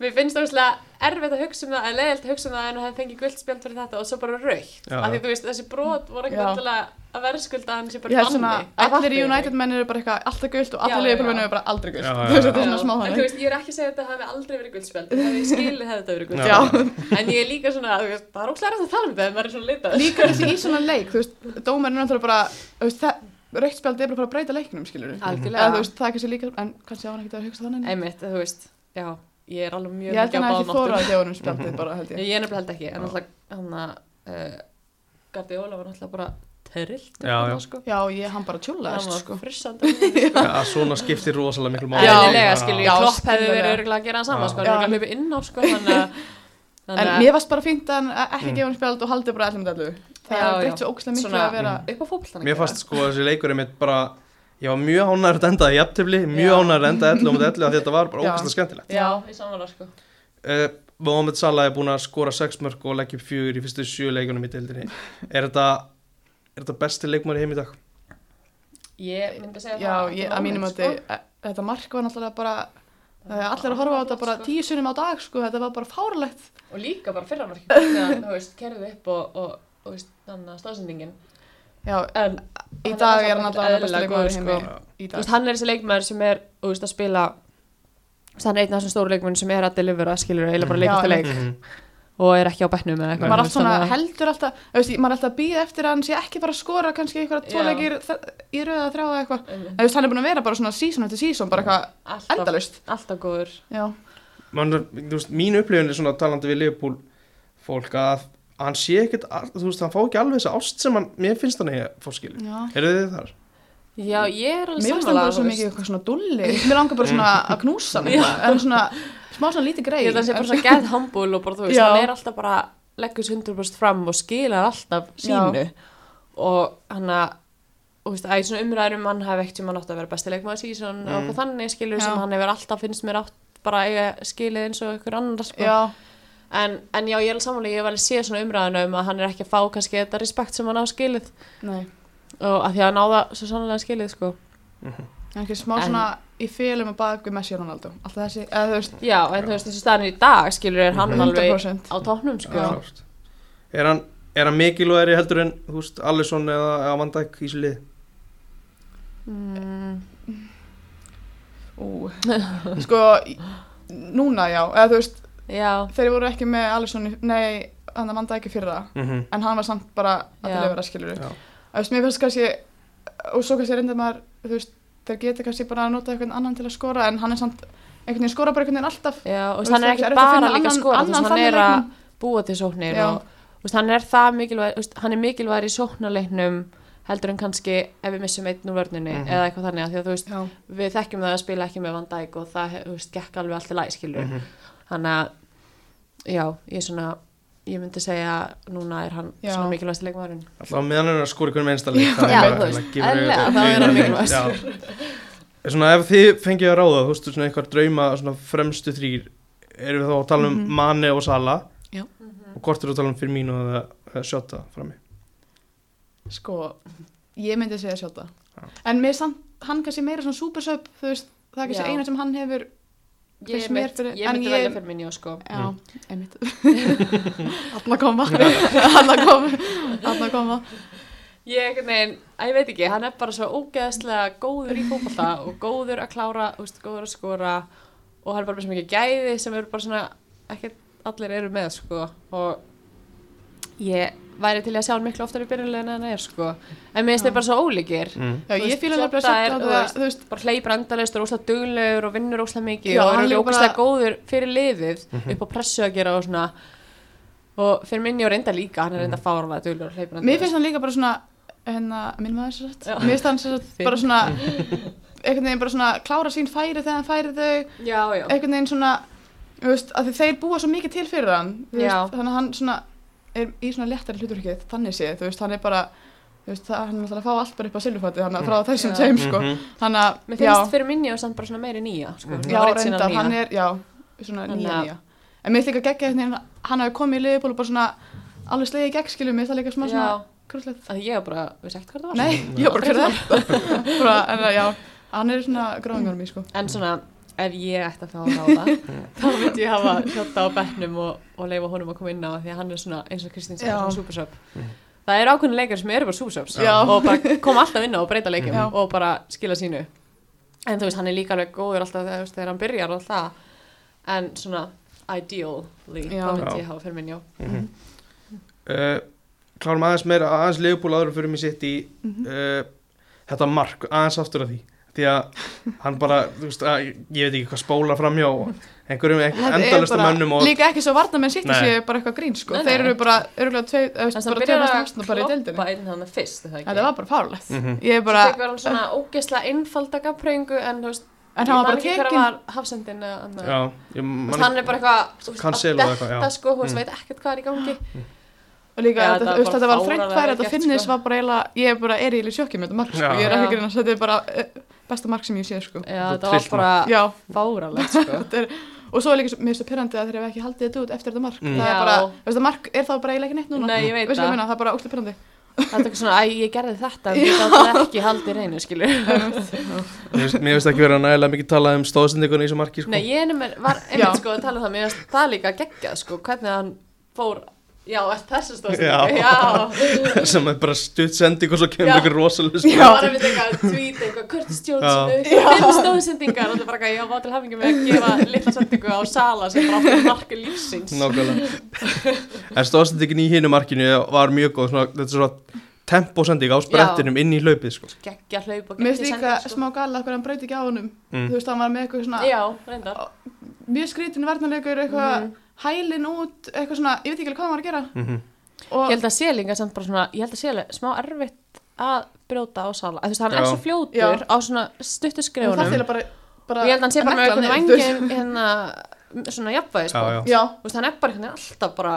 B: mér finnst það erfitt að hugsa um það, en leiðilt að hugsa um það en að það fengi guld spjald fyrir þetta og svo bara raukt
A: Já.
B: af því þú veist, þessi brot voru ekki
C: Já.
B: alltaf að verðskulda hann sé
C: Ég
B: bara
C: held svona, allir United menn eru bara eitthvað alltaf gult og
B: Já,
C: allir
B: já,
C: Liverpool menn
B: já.
C: eru bara aldrei gult.
A: Já, já,
C: Þú veist,
A: já.
C: þetta er svona smá
B: en þú
C: þannig.
B: veist, ég er ekki að segja að þetta hafi aldrei verið guldspjald en ég skilið hefði þetta verið
A: Já.
B: guldspjald en ég er líka svona, þú veist, það er ókslega rætt að tala um þetta en maður er svona litað
C: Líka þessi í svona leik, þú veist, dómarinn er náttúrulega bara, þú veist, það- rautt spjald er bara að fara að breyta leiknum, skilurðu. eða þú
B: algjörlega,
C: veist, það er kannski líka, en kannski á hann ekkert að hugsa þannig
B: einmitt, þú veist, já ég er alveg
C: ég
B: mjög mikið
C: held
B: á
C: hann
B: báðum
C: að ekki
B: áttum.
C: þóra að gefa honum spjaldið bara held Mhm. ég
B: Ég er nefnilega held ekki, en alltaf hann að uh, Gardi Óla var náttúrulega bara terrillt
A: Já, já.
B: Sko.
C: já, ég hann bara
B: Hann
C: tjúlaðist
B: var
C: sko
B: frissandi Já,
A: Já, svona skiptir rosalega miklu máli
B: eðlilega skilur
C: Já,
B: ég Klopp hefði
C: skilurðu.
B: verið örgulega að gera hann
A: Já.
B: saman sko,
C: Já.
B: hann hefði hlupið inn á sko þannig að-
C: en
B: þannig að
C: mér varst bara fínt að Mm. hann eh, ekki gefa honum spjald og haldið bara allir með allu það
B: Já,
C: er
B: já.
C: breytt svo ógstlega miklu
B: Svona-
C: að vera
B: upp á fótboltan
A: Mér fannst sko þessi leikur er mitt bara Ég var mjög ánæður að enda í jafntöfli Mjög
B: Já.
A: ánæður að enda 11 og 11 að Þetta var bara
C: Já.
A: ókvæmstlega skemmtilegt
B: Já, í samanlega sko
A: uh, Mohamed Salah er búin að skora 6 mörg og leggja upp 4 í fyrstu 7 leikunum í deildinni Er þetta Er þetta besti leikmæri heim í dag?
B: Ég myndi segja
C: já,
B: það
C: ég, að mínum að
B: sko.
C: þetta þetta mark var náttúrulega bara það er allir að horfa á þetta bara tíu sunnum á dag sko þetta var bara fárlegt
B: Og líka bara fyrra marki Þú veist, kerðið upp og, og, og þú veist, þannig að staðsendingin
C: já,
B: En Hann
C: í
B: er
C: dag er
B: samt
C: hann allavega
B: eðlilega
C: besta
B: góður,
C: leikmaður í
B: sko.
C: heimi í
B: þú veist,
C: dag
B: hann er þessi leikmaður sem er þú veist, að spila þú veist, hann er einn af þessum stóru leikmennum sem er að delivera skilur eiginlega bara
C: Mhm.
B: leik
C: Já,
B: eftir leik
A: Mm
B: og er ekki á bekknum eða
A: Nei.
B: eitthvað
C: maður er allt svona
B: Þannig að-
C: heldur alltaf þú veist, maður er alltaf að býða eftir að hann sé ekki bara að skora kannski einhverja
B: Já.
C: tvoleikir í röða þrjá eða eitthvað
B: Einmitt.
C: Eða, þú veist, hann er búin að vera bara svona season eftir season bara eitthvað
B: alltaf,
C: endalust
B: alltaf góður
C: já,
A: Man, þú veist, Mín upplifun er svona talandi við Leopold fólk að hann sé ekkert all- þú veist, hann fá ekki alveg þessa ást sem hann, mér finnst hann eigi að fá skilja
C: já.
A: Eru þið þar?
B: já, ég er alveg
C: mér finnst hann
B: sammála,
C: bara
B: þú
C: svo
B: veist.
C: mikið eitthvað svona Mm. dulli mér langar bara svona að knúsa hann eitthvað. en svona smá svona lítið grei
B: ég held að hann sé bara svo gæð humble og bara þú veist,
C: Já.
B: hann er alltaf bara leggur sig 100% fram og skilar alltaf sínu og hann að og þú veist, að í svona umræðum hann hafi ekkert sem hann átt að vera bestileikmaður síðan mm. og
A: Mm.
B: eitthvað þannig skilur
C: Já.
B: sem hann hefur alltaf finnst mér átt bara að eiga skilið eins og ykkur annar sko.
C: já,
B: En, en já, ég er samanlega, ég hef alveg séð svona umræðinu um að hann er ekki að fá kannski þetta respekt sem hann á skilið
C: nei
B: og að því að hann á það svo sannlega skilið sko.
C: En ekki smá
B: En-
C: svona í félum að baka við Messi og Ronaldo Alltaf þessi, eða þú veist,
B: Já, en þú veist þessu staðan í dag skilur er hann alveg
C: 100%
B: á tóknum sko.
C: Mm-hmm. Já.
A: Klárt. er hann, er hann mikilvægri heldur en þú veist, Alisson eða, eða Van Dijk í slið
B: Mm,
C: Ú, sko, í- núna já, eða þú veist
B: já,
C: Þeir voru ekki með Alisson, í- nei, hann að manda ekki fyrra
A: mm -hmm.
C: En hann var samt bara að
B: Já.
C: til vera skilur
A: Já.
C: Þú veist, mér finnst kannski Og svo kannski reyndar maður, þú veist Þeir geta kannski bara að nota einhvern annan til að skora En hann er samt, einhvern veginn skora bara einhvern veginn alltaf
B: já, og
C: Þú
B: veist, hann
C: það
B: er
C: erfitt
B: ekki
C: að finna
B: bara líka að
C: annan-
B: skora, þú
C: annan
B: veist, hann
C: þannig
B: er að
C: leikmann.
B: búa til sóknir
C: Já.
B: og þú veist, hann er það mikilvæg, þú veist, hann er mikilvæg í sóknarleiknum heldur en kannski ef við missum einn úr vörninni
A: Mhm.
B: eða eitthvað þannig að því að þú veist,
C: Já,
B: við þekkjum það að spila ekki með Van Dijk og það, þú veist, gekk alveg allt í læg skilur
A: Mm -hmm.
B: þannig að já, ég er svona ég myndi segja að núna er hann
C: Já.
B: svona mikilvægast leikmaðurinn
A: alltaf meðan hann er að skora einhvern einsta leik
B: Já, þú veist, eðlilega, þá er hann mikilvægastur.
A: svona ef þið fengið að ráða þú veist svona eitthvað drauma svona fremstu þrýr erum við þá að tala um mm
C: Mhm.
A: Mane og Sala
C: Já.
A: og hvort eru að tala um Firmino eða, eða Sjöta frammi
C: sko, ég myndi segja sjálta
A: Já.
C: En mér samt, hann kannski meira svona supersub, þú veist Það
B: Já.
C: er kannski eina sem hann hefur
B: ég
C: Finnst mér
B: myndi,
C: fyrir-
B: ég
C: en
B: myndi
C: ég-
B: velja fyrir minni sko.
C: Já,
A: Mm.
C: einmitt Alla koma Alla koma Alla koma
B: ég, einhvern veginn, að ég veit ekki, hann er bara svo ógeðslega góður í fótbolta og góður að klára, þú veist, góður að skora og hann er bara með svo mikið gæði sem eru bara svona, ekkert allir eru með sko og ég væri til í að sjá hann miklu oftar í byrjulegin en hann er sko en mér finnst
C: Já.
B: þeir bara svo ólíkir
A: mm.
C: Já,
B: Þú
C: ég
B: veist,
C: fíla
B: Jota er,
C: nefnilega sjötta
B: þú
C: þú,
B: veist,
C: þú veist,
B: bara hleypir endalaust og er óslega duglegur og vinnur óslega mikið
C: Já,
B: og
C: hann
B: er
C: líka
B: óslega
C: bara- Mhm.
B: góður fyrir liðið upp á pressu að gera og svona og fyrir minni og reynda líka, hann er reynda fárlega duglegur og hleypir
C: mér finnst hann líka bara svona hérna, minn maður sér
B: Já.
C: satt mér finnst hann sér satt bara svona einhvern veginn bara svona klára sín færi þegar hann færi þau
B: Já, já,
C: einhvern veginn svona þú veist, að þeir búa svo mikið til fyrir hann þú
B: Já.
C: veist, þannig að hann svona er í svona léttari hluturkið þannig séð, þú veist, hann er bara þú veist, það, hann er alltaf að fá allt bara upp á silfati þannig að frá þessum
B: Já.
C: tveim, sko
A: Mhm.
C: þannig
B: mér
C: að, já,
B: finnst fyrir minni og samt bara svona meiri nýja sko,
A: Mhm.
B: svona
C: já,
B: original
C: reyndar,
B: nýja.
C: hann er, já svona
B: Þannig
C: nýja,
B: að-
C: nýja en mér finnst líka geggja einhvern veginn hann hafi komið í liðból og bara svona alveg slegið í gegn, skilum mig, það er líka smá svona
B: Já,
C: krullet
B: að ég var bara, við sagt hvað það var
C: Nei, ég var
B: Aldrei
C: bara fyrir þetta bara, en það, já, hann er svona gráðingar mér, sko
B: En svona, ef ég ætti að fá að ráða þá myndi ég hafa hjóta á betnum og, og leifa honum að koma inn á því að hann er svona, eins og Kristín sagði,
C: Já.
B: svona supersub Það eru ákveðin leikar sem eru bara supersubs
C: Já. Mhm.
B: og bara koma alltaf inn á og breyta leikum
C: Já.
B: og bara skila sínu En þú veist, hann er líka alveg góður alltaf þegar, þú veist, þegar hann byrjar og allt það en svona, ideally
C: Já.
B: þá myndi
A: Já.
B: ég hafa fyrir minn, já
A: uh, Mhm. klárum aðeins meira aðeins leifbúl áður fyrir mig sitt í
B: Mhm.
A: uh, þetta mark, aðeins aftur af því því að hann bara þú veist, að, ég veit ekki hvað spóla framhjá og einhverjum
C: Þetta er
A: endalustu
C: bara-
A: mönnum og
C: Líka ekki svo varna menn sitt í
A: Nei.
C: séu bara eitthvað grín, sko
B: Nei, nei.
C: Þeir eru bara, örgulega tvei, eða,
B: Þannig að
C: veist,
B: hann
C: bara tvei
B: byrjar
C: mest
B: að
C: mestnum bara í deildinni
B: kloppa inn hann fyrst, er það
C: Þetta
B: ekki?
C: var bara fárlegt
A: Mhm.
C: Ég er
B: Svo
C: bara,
B: tekur hann svona ógeðslega einfalda gafpreyingu en þú veist,
C: en hann var
B: ég man
C: bara
B: ekki
C: tekin
B: hver var hafsendin eða annað
A: já, ég,
B: Þú
A: man,
B: veist, hann er bara eitthvað þú veist,
A: Cancelo
B: að
A: eða eitthvað,
B: detta,
A: já.
B: sko, hún
A: Mm.
B: veit ekkert hvað er í gangi
C: Og líka,
B: Já,
C: þetta,
B: þetta var
C: þetta, þetta
B: bara
C: var þrengt
B: fáránlega
C: færi,
B: vel gert,
C: þetta finnis
B: sko.
C: var bara eiginlega, ég er bara er í sjokkið með þetta mark, sko,
A: Já.
C: ég er ekki
B: Já.
C: að grínast, þetta er bara eh, besta mark sem ég sé, sko.
B: já,
A: Þú
B: það var
A: trillt
B: bara
C: Já,
B: fáralegt sko.
C: þetta er, og svo er líka, svo- mér finnst það pyrrandi að þeir hafa ekki haldið þetta út eftir þetta mark,
A: Mm.
C: það
B: Já.
C: er bara, veist það mark er þá bara eiginlega ekki neitt núna,
B: nei, ég veit
C: veistu hvað ég
B: það
C: meina, það er bara óslega pyrrandi.
B: þetta er eitthvað svona, æ, ég gerði þetta en ég gátt ekki haldið reynu, skilur
A: mér finnst- mér finnst ekki verið að nægilega mikið tala um stóðsendingun í þessu marki sko.
B: nei, ég ennum er, var
C: Já.
B: einmitt sko að tala um það mér finnst það líka geggjað, sko, hvernig hann fór já, þessu stóðsendingu,
A: Já.
B: já
A: sem er bara stutt sending og svo kemur
B: Já.
A: ykkur rosalega sko.
B: Ég var að mynda eitthvað tweet eitthvað Curtis Johnson,
A: Já.
B: eitthvað fimm stóðsendingar og það er bara eitthvað, já, vá til hafingi með að gefa litla sendingu á Sala sem bara átti marka lífsins
A: nákvæmlega en stóðsendingin í hinu markinu var mjög góð svona, þetta er svona tempósending á sprettinum inn í hlaupið sko.
B: geggja hlaup og
C: Mér
B: geggjuð
C: finnst líka
B: sending, sko.
C: smá gala hvernig hann breyti ekki á honum, þú
A: mm.
C: veist, hann var með eitthvað svona,
B: já, reyndar
C: mjög skrítin verðanlegur, eitthvað
B: Mhm.
C: hælinn út, eitthvað svona, ég veit ekki alveg hvað hann var að gera,
A: Mm
B: Ég
C: og
B: held að Selinga samt bara svona, ég held að Selinga smá erfitt að brjóta á Sala að þú veist, hann er
A: Já.
B: svo fljótur
C: Já.
B: á svona stuttu
C: en það
B: skrifunum
C: fyrir bara, bara,
B: og ég held að hann sé bara með
C: negla
B: einhvern
C: niður, þú veist.
B: vangin hérna, svona jafnvæði sko.
A: já, já.
C: Já,
B: Þú veist, hann er bara einhvern veginn alltaf bara,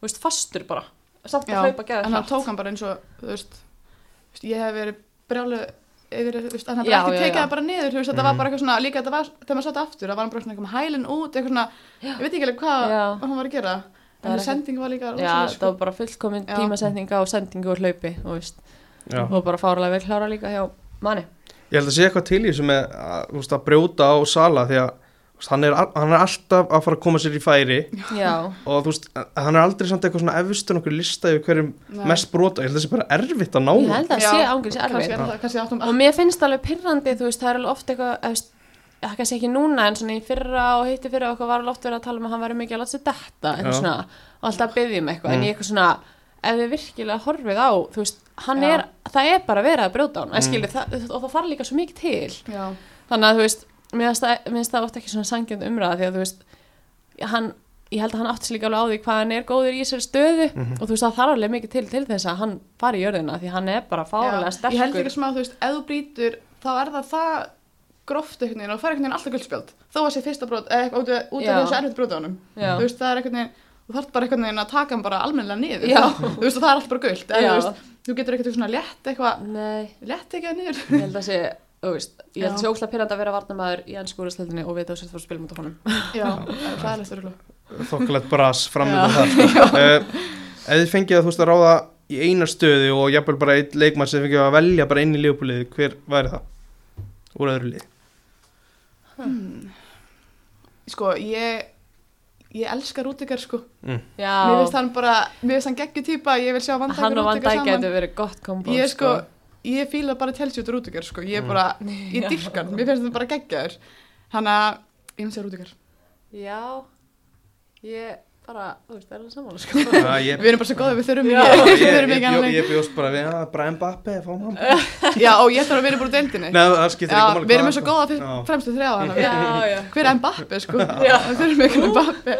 B: þú veist, fastur bara samt
C: Já,
B: að hlaupa
C: en
B: geða
C: hann tók hann bara eins og þú veist, þú veist ég hef verið brjálu yfir, þú veist, en hann
B: Já,
C: bara ekki
B: já,
C: tekið
B: já.
C: það bara niður, þú veist, þetta
A: Mhm.
C: var bara eitthvað svona, líka þetta var, þegar maður satt aftur, það var hann bara svona eitthvað með hælinn út, eitthvað svona, ég veit ekki alveg hvað
B: Já.
C: hann var að gera,
B: Það var
C: en
B: ekki-
C: sending var líka
B: Já,
C: rosalega,
B: það var bara fullkomin
C: sko. Já.
B: tímasetninga og sendingu og hlaupi þú veist.
A: Já.
B: og bara fárlega vel klára líka hjá manni
A: Ég held að sé eitthvað til í þessu með að, þú veist, að brjóta á Sala því að þú veist, hann er, al- hann er alltaf að fara að koma sér í færi
B: Já,
A: og þú veist, hann er aldrei samt eitthvað svona efustur okkur lista yfir hverjum
C: Nei.
A: mest brota, ég held að það sé bara erfitt að ná
B: ég
A: honum.
B: held að
C: Já,
B: sé ángurins erfið
C: kannski er það, kannski áttum,
B: og mér finnst alveg pyrrandi þú veist, það er alveg oft eitthvað þú veist, það kannski ekki núna en svona í fyrra og hitti fyrra og eitthvað var alveg oft verið að tala um að hann væri mikið að láta sér detta eitthvað
A: Já.
B: svona, og alltaf byggjum eitthvað en
A: Mm.
B: ég eitthvað svona, ef við virkilega horfið á þú veist, hann
C: Já.
B: er, það er bara verið að brjóta á hann mm. skilur, það, og það fara líka svo mikið til
C: já,
B: þannig að þú veist, mér finnst það- mér finnst það oft ekki svona sangjönd umræða því að þú veist, hann ég held að hann átti sér líka alveg á því hvað hann er góður í sér stöðu
A: Mhm.
B: og þú veist það þarf alveg mikið til til þess að hann fari í jörðina því hann er bara fáralega
C: já,
B: sterkur
C: ég held ekki smá, þú veist, ef þú brýtur, þá er það það gróft einhvern veginn og fær einhvern veginn alltaf guldspjöld, þó að sé fyrsta brot, eða eitthvað út af- út af
B: Já.
C: þessu erfitt brot á honum,
B: Já.
C: þú veist, það er einhvern veginn, þú þarf bara einhvern veginn að taka hann bara almennilega niður, sko.
B: Já.
C: þú veist, og það er alltaf bara guld, eða
B: Já.
C: þú veist, þú getur ekkert svona létt eitthvað,
B: Nei,
C: létt tekið það niður,
B: ég held að sé, þú veist, ég held að
C: Já.
B: sé óslega pyrrandi að vera varnamaður í ennsku úrstældinni og vita á sér þú spilum út af honum.
C: já, það er lestur örugglega.
A: þokkalegt bras framöndan þar sko. uh, ef þið fengið að þú veist að ráða í eina stöðu og jafnvel bara einn leikmann sem þið fengið að velja bara inn í liðbúlið hver væri það úr öðru lið
C: sko, ég ég elska Rúdikar sko
B: Já,
C: mér finnst hann bara, mér finnst hann geggju týpa ég vil sjá Van Dijk
B: hann og
C: og
B: Van
C: Rúdikar
B: Dijk
C: saman
B: getur verið gott kombo.
C: ég sko, ég fíla bara Telsjút Rúdikar sko,
A: Mm.
C: ég bara, ég dyrkan mér finnst hann bara geggjaður hann að, ég finnst það Rúdikar
B: Já, ég bara, þú veist, er það saman, sko.
A: uh, ég,
C: við erum bara svo góðið, við þurfum
B: Já.
A: ég, ég, ég,
C: ekki við
A: ég,
C: þurfum ekki hann
A: bjó-
C: leik
A: ég bjóst bara við að Brian Bappe fáum hann
C: já, og ég þarf að vera bara úr deildinni
A: Nei, það skiptir
C: já,
A: ekki máli
C: við erum
A: hvað,
C: eins og
A: sko.
C: góða
A: Já.
C: fyrir fremstu þrjá hann
B: já, já.
C: hver er Mbappi sko,
B: Já.
C: við þurfum ekki Mbappi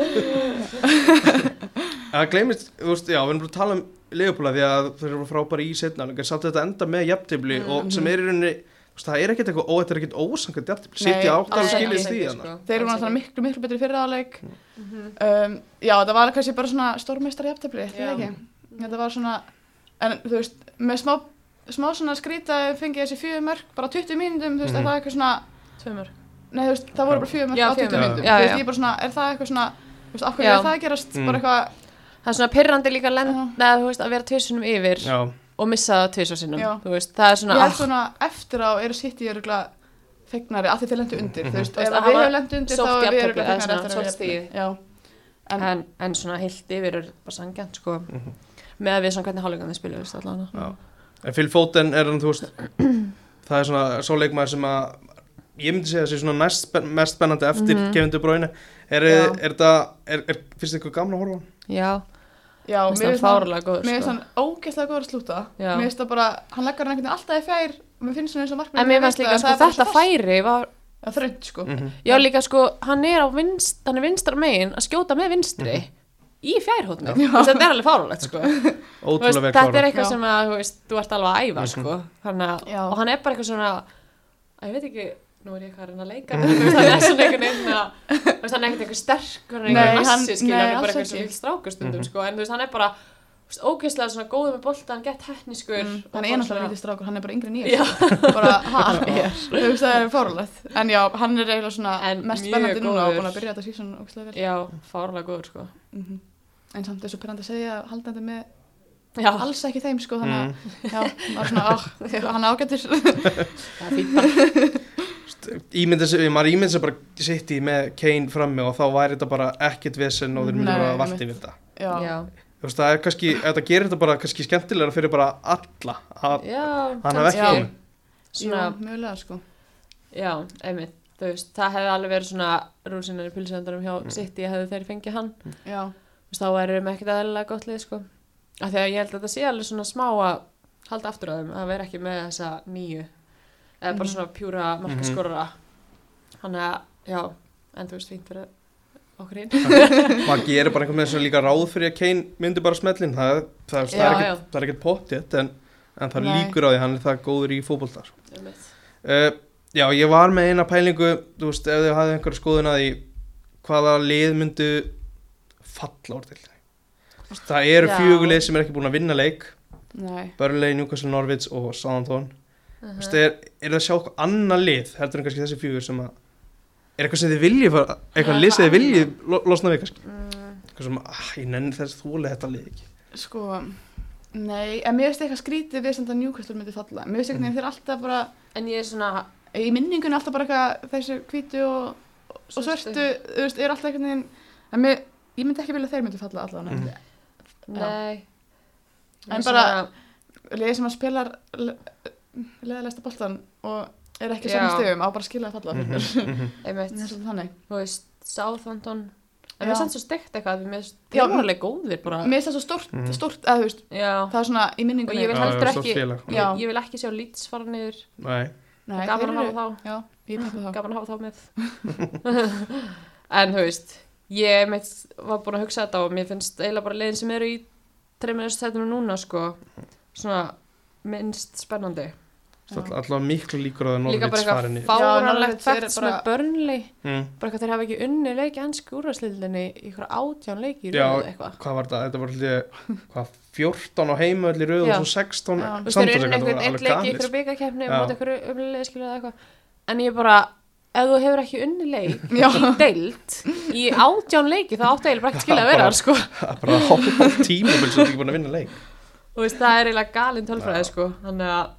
A: Það Eh, gleymist, þú veist, já, við erum bara að tala um Leopold því að þeir eru frábæri í setna en samt þetta enda með jafntefli
C: Mm,
A: og
C: mhm.
A: sem er í rauninni, þú veist, það er ekkert eitthvað ó, þetta er ekkert ósangat jafntefli,
C: Nei,
A: sitja átt að
C: alls ekki,
A: skilja
C: alls
A: því
B: ekki,
A: hana
B: sko.
C: Þeir eru
B: Alls
C: náttúrulega
B: ekki.
C: miklu, miklu betri fyrir áleik um, Já, það var kannski bara svona stórmeistar jafntefli, þetta
B: Já.
C: ekki Þetta var svona, en þú veist með smá, smá svona skrýta fengið þessi fjögur mörg, bara á 20 mínútum þú veist,
A: Mhm.
C: er það eitthvað svona,
B: Tveimur.
C: nei þú veist, það voru bara fjögur mörg
B: Já,
C: á
B: fjögur
C: 20
A: mörk.
B: Já,
C: mínútum, þú veist,
B: já.
C: ég bara svona, er það eitthvað svona þú veist, af hverju
B: Já.
C: er það að gerast,
A: Mm.
C: bara eitthvað uh,
B: Það er svona pyrrandi líka lend,
C: Já.
B: neða, þú veist, að vera tvisunum yfir
A: Já,
B: og missa það tvisunum,
C: Já.
B: þú veist, það er svona,
C: ég
B: ah,
C: held svona eftir á eru sitt í öruglega fegnari, af því þeir lendu undir, þú veist,
B: Þú veist, að
C: ef að við
B: hafa
C: höfum lendu undir þá
B: sótt
C: er við
B: jafntefli,
C: öruglega
B: eða
C: fegnari
B: svona
C: eftir að
B: sótt
C: við
B: stigið.
C: Já, en,
B: en, en svona heilt yfir er bara sangjant, sko, með að við svona hvernig hálfleikann þið spilum, þú veist, allavega.
A: Mhm. já En Phil Foden er hann, þú veist það er svona svo leikmaður sem að ég myndi segja að sé svona næst, spen- mest spennandi eftir mm -hmm. kefindu bróinu er,
C: Já.
A: er það, er, er, finnst þið eitthvað gamla horfa? á hann?
B: Já,
C: já,
B: mér
C: mér
B: finnst það
C: finnst hann-
B: fárlega góður,
C: Mér finnst
B: sko.
C: hann ógeðslega góður að slúta
B: Já.
C: Mér finnst það bara, hann leggur hann einhvern veginn alltaf í fjær og Mér finnst hann eins og markmið
B: En mér fannst líka, sko, þetta færi var,
C: Það er þrönd, sko
A: Mhm.
B: já líka, sko, hann er á vinst, hann er vinstra megin að skjóta með vinstri
A: Mhm.
B: í fjærhóttni, þetta er alveg fárulegt, sko. Þú veist,
A: Ótrúlega vel
B: þetta er
A: klárað. Mhm.
B: eitthvað
C: Já.
B: sem að, þú veist, þú ert alveg að æfa, sko, þannig
C: Já.
B: að, og hann er bara eitthvað svona, að ég veit ekki, nú er ég eitthvað að reyna að leika,
A: Mhm.
B: þú veist, hann er svona einhvern veginn að, þú veist, hann er ekkert eitthvað sterk, hann er
C: Nei,
B: eitthvað
C: hann-
B: massi, skilur,
C: nei,
B: hann er bara
C: alls
B: eitthvað svona
C: ekki.
B: vilt strákustundum,
A: Mhm.
B: sko, en þú veist, hann er bara, þú veist, ógeðslega svona góður með boltan, gett hefniskur, og
C: Mm, Hann
B: Mm. bara
C: er einhverja
B: svona-
C: lítið strákur, hann er bara yngri en
B: Já.
C: ég sko. Bara, ha, þú veist það er fárulegt En já, hann er eiginlega svona
B: En
C: mest
B: mjög
C: spennandi núna
B: góður.
C: og búin að byrja þetta síðan ógeðslega vel
B: Já, fárlega góður, sko.
C: Mhm. En samt þessu perandi að segja að haldandi með
B: Já,
C: alls ekki þeim sko þannig að
A: Mm.
C: já, maður svona, ah, hann er ágættur
B: það er fínt bara.
A: ímynda sig, maður ímynda sig bara sitt í með Kane frammi og þá væri þetta bara ekkert vesen og þeir myndu
C: Nei,
A: bara að
C: einmitt.
A: valdi við þetta
C: Já, já,
A: þú veist, það er kannski, þetta gerir þetta bara kannski skemmtilega fyrir bara alla að
B: já,
A: hann hafi
B: kannski.
A: ekki komið
B: Svona,
C: mjögulega sko
B: Já, einmitt, þú veist, það hefði alveg verið svona rúsinar í pulsendarum hjá
A: Mm.
B: City hefðu þeir fengið hann,
C: Já,
B: þú veist, þá erum við ekkert aðeinslega gott lið, sko. Af því að ég held að þetta sé alveg svona smá að halda aftur á þeim, að vera ekki með þessa nýju, eða bara
C: Mhm.
B: svona pjúra markaskorara. Þannig að, já, en þú veist, fínt fyrir okkur hinn.
A: maður gerir bara einhvern veginn sem líka ráð fyrir að Kane myndi bara smellin það, það, það,
B: Já,
A: er
B: já.
A: ekkert, það er ekkert pottjett en, en það
C: Nei.
A: líkur á því hann er það góður í fótbolta sko. uh, já, ég var með eina pælingu þú veist, ef þau hafði einhverja skoðun að því hvaða lið myndu falla úr til það eru
B: Já.
A: fjögulið sem er ekki búin að vinna leik
C: nei
A: Burnley, Newcastle, Norwich og Southampton
B: Mhm. Mm.
A: Þú veist, er, er það að sjá eitthvað annað lið heldur en kannski þessi fjögur sem að er eitthvað sem þið viljið fara, eitthvað
B: Já,
A: lið sem þið
B: eitthvað
A: viljið lo, losna við kannski
B: Mm.
A: eitthvað sem, ah, ég nenni þess þúlega þetta lið ekki
C: sko, nei, en mér finnst eitthvað skrítið við samt að Newcastle myndi falla mér finnst eitthvað mm. þeir alltaf bara,
B: En ég er svona
C: í minningunni alltaf bara eitthvað þessu hvítu og, og svörtu þú veist, er alltaf eitthvað en mér, ég myndi ekki vilja að þeir myndi falla allavega
A: Mhm.
B: Nei Ég er
C: En bara-
B: svona-
C: liðið sem að spilar leðalæsta boltan og er ekki
B: Já.
C: saman stegum á bara að skila að falla
A: Mhm,
C: mm -hmm.
A: mhm.
B: einmitt,
C: það er svolítið þannig
B: þú veist, Southampton en
C: Já.
B: við samt svo steikt eitthvað því mér
C: Já,
B: erum alveg góðir bara
C: mér finnst það svo stort,
A: Mhm.
C: stort að, þú veist,
B: já,
C: það er svona í minningunni
B: Og ég vil
A: Já,
B: heldur
A: já, stórt
B: ekki-
A: félag.
C: Já.
B: ég, ég vil ekki sjá Leeds fara niður
A: Nei.
C: Nei,
B: gaman
C: þeir
B: að hafa þá,
C: já, ég pæla það
B: gaman að hafa þá með en þú veist ég meitt, var búin að hugsa þetta og mér finnst eiginlega bara leiðin sem eru í treyminu setjum núna sko svona minnst spennandi
A: Það er alltaf miklu líkur á að
B: líka bara
A: Norvíts farinni
B: eitthvað
A: fa
C: Norwich
B: fáranlegt
C: eru
B: fætt sem
C: bara-
B: er börnli
A: mm.
B: bara eitthvað þeir hafa ekki unni leiki ennsku úrvarsliðinni í ykkur átján leiki í
A: Já.
B: röðu eitthvað
A: Hvað var þetta? Þetta var alltaf hvað, 14 á heimöll í röð
B: Já.
A: og svo 16
C: Já.
B: Þú veist, þeir
A: samtals eitthvað,
B: eru einhvern
A: þetta var
B: einn
A: alveg
B: leik í
A: galið,
B: ykkur
A: sko.
B: byggakeppni
A: Já.
B: og ykkur umliðskilur eða eitthvað en ég bara, ef þú hefur ekki unni leik
C: Já.
B: í deild í átján leiki þá áttu eiginlega bara ekki skilja að vera
A: Bara-
B: þar, sko.
A: Það er bara hálf tímabil sem þú ekki búin að vinna leik
B: Þú veist, það er eiginlega galin tölfræði
A: Já.
B: sko. þannig að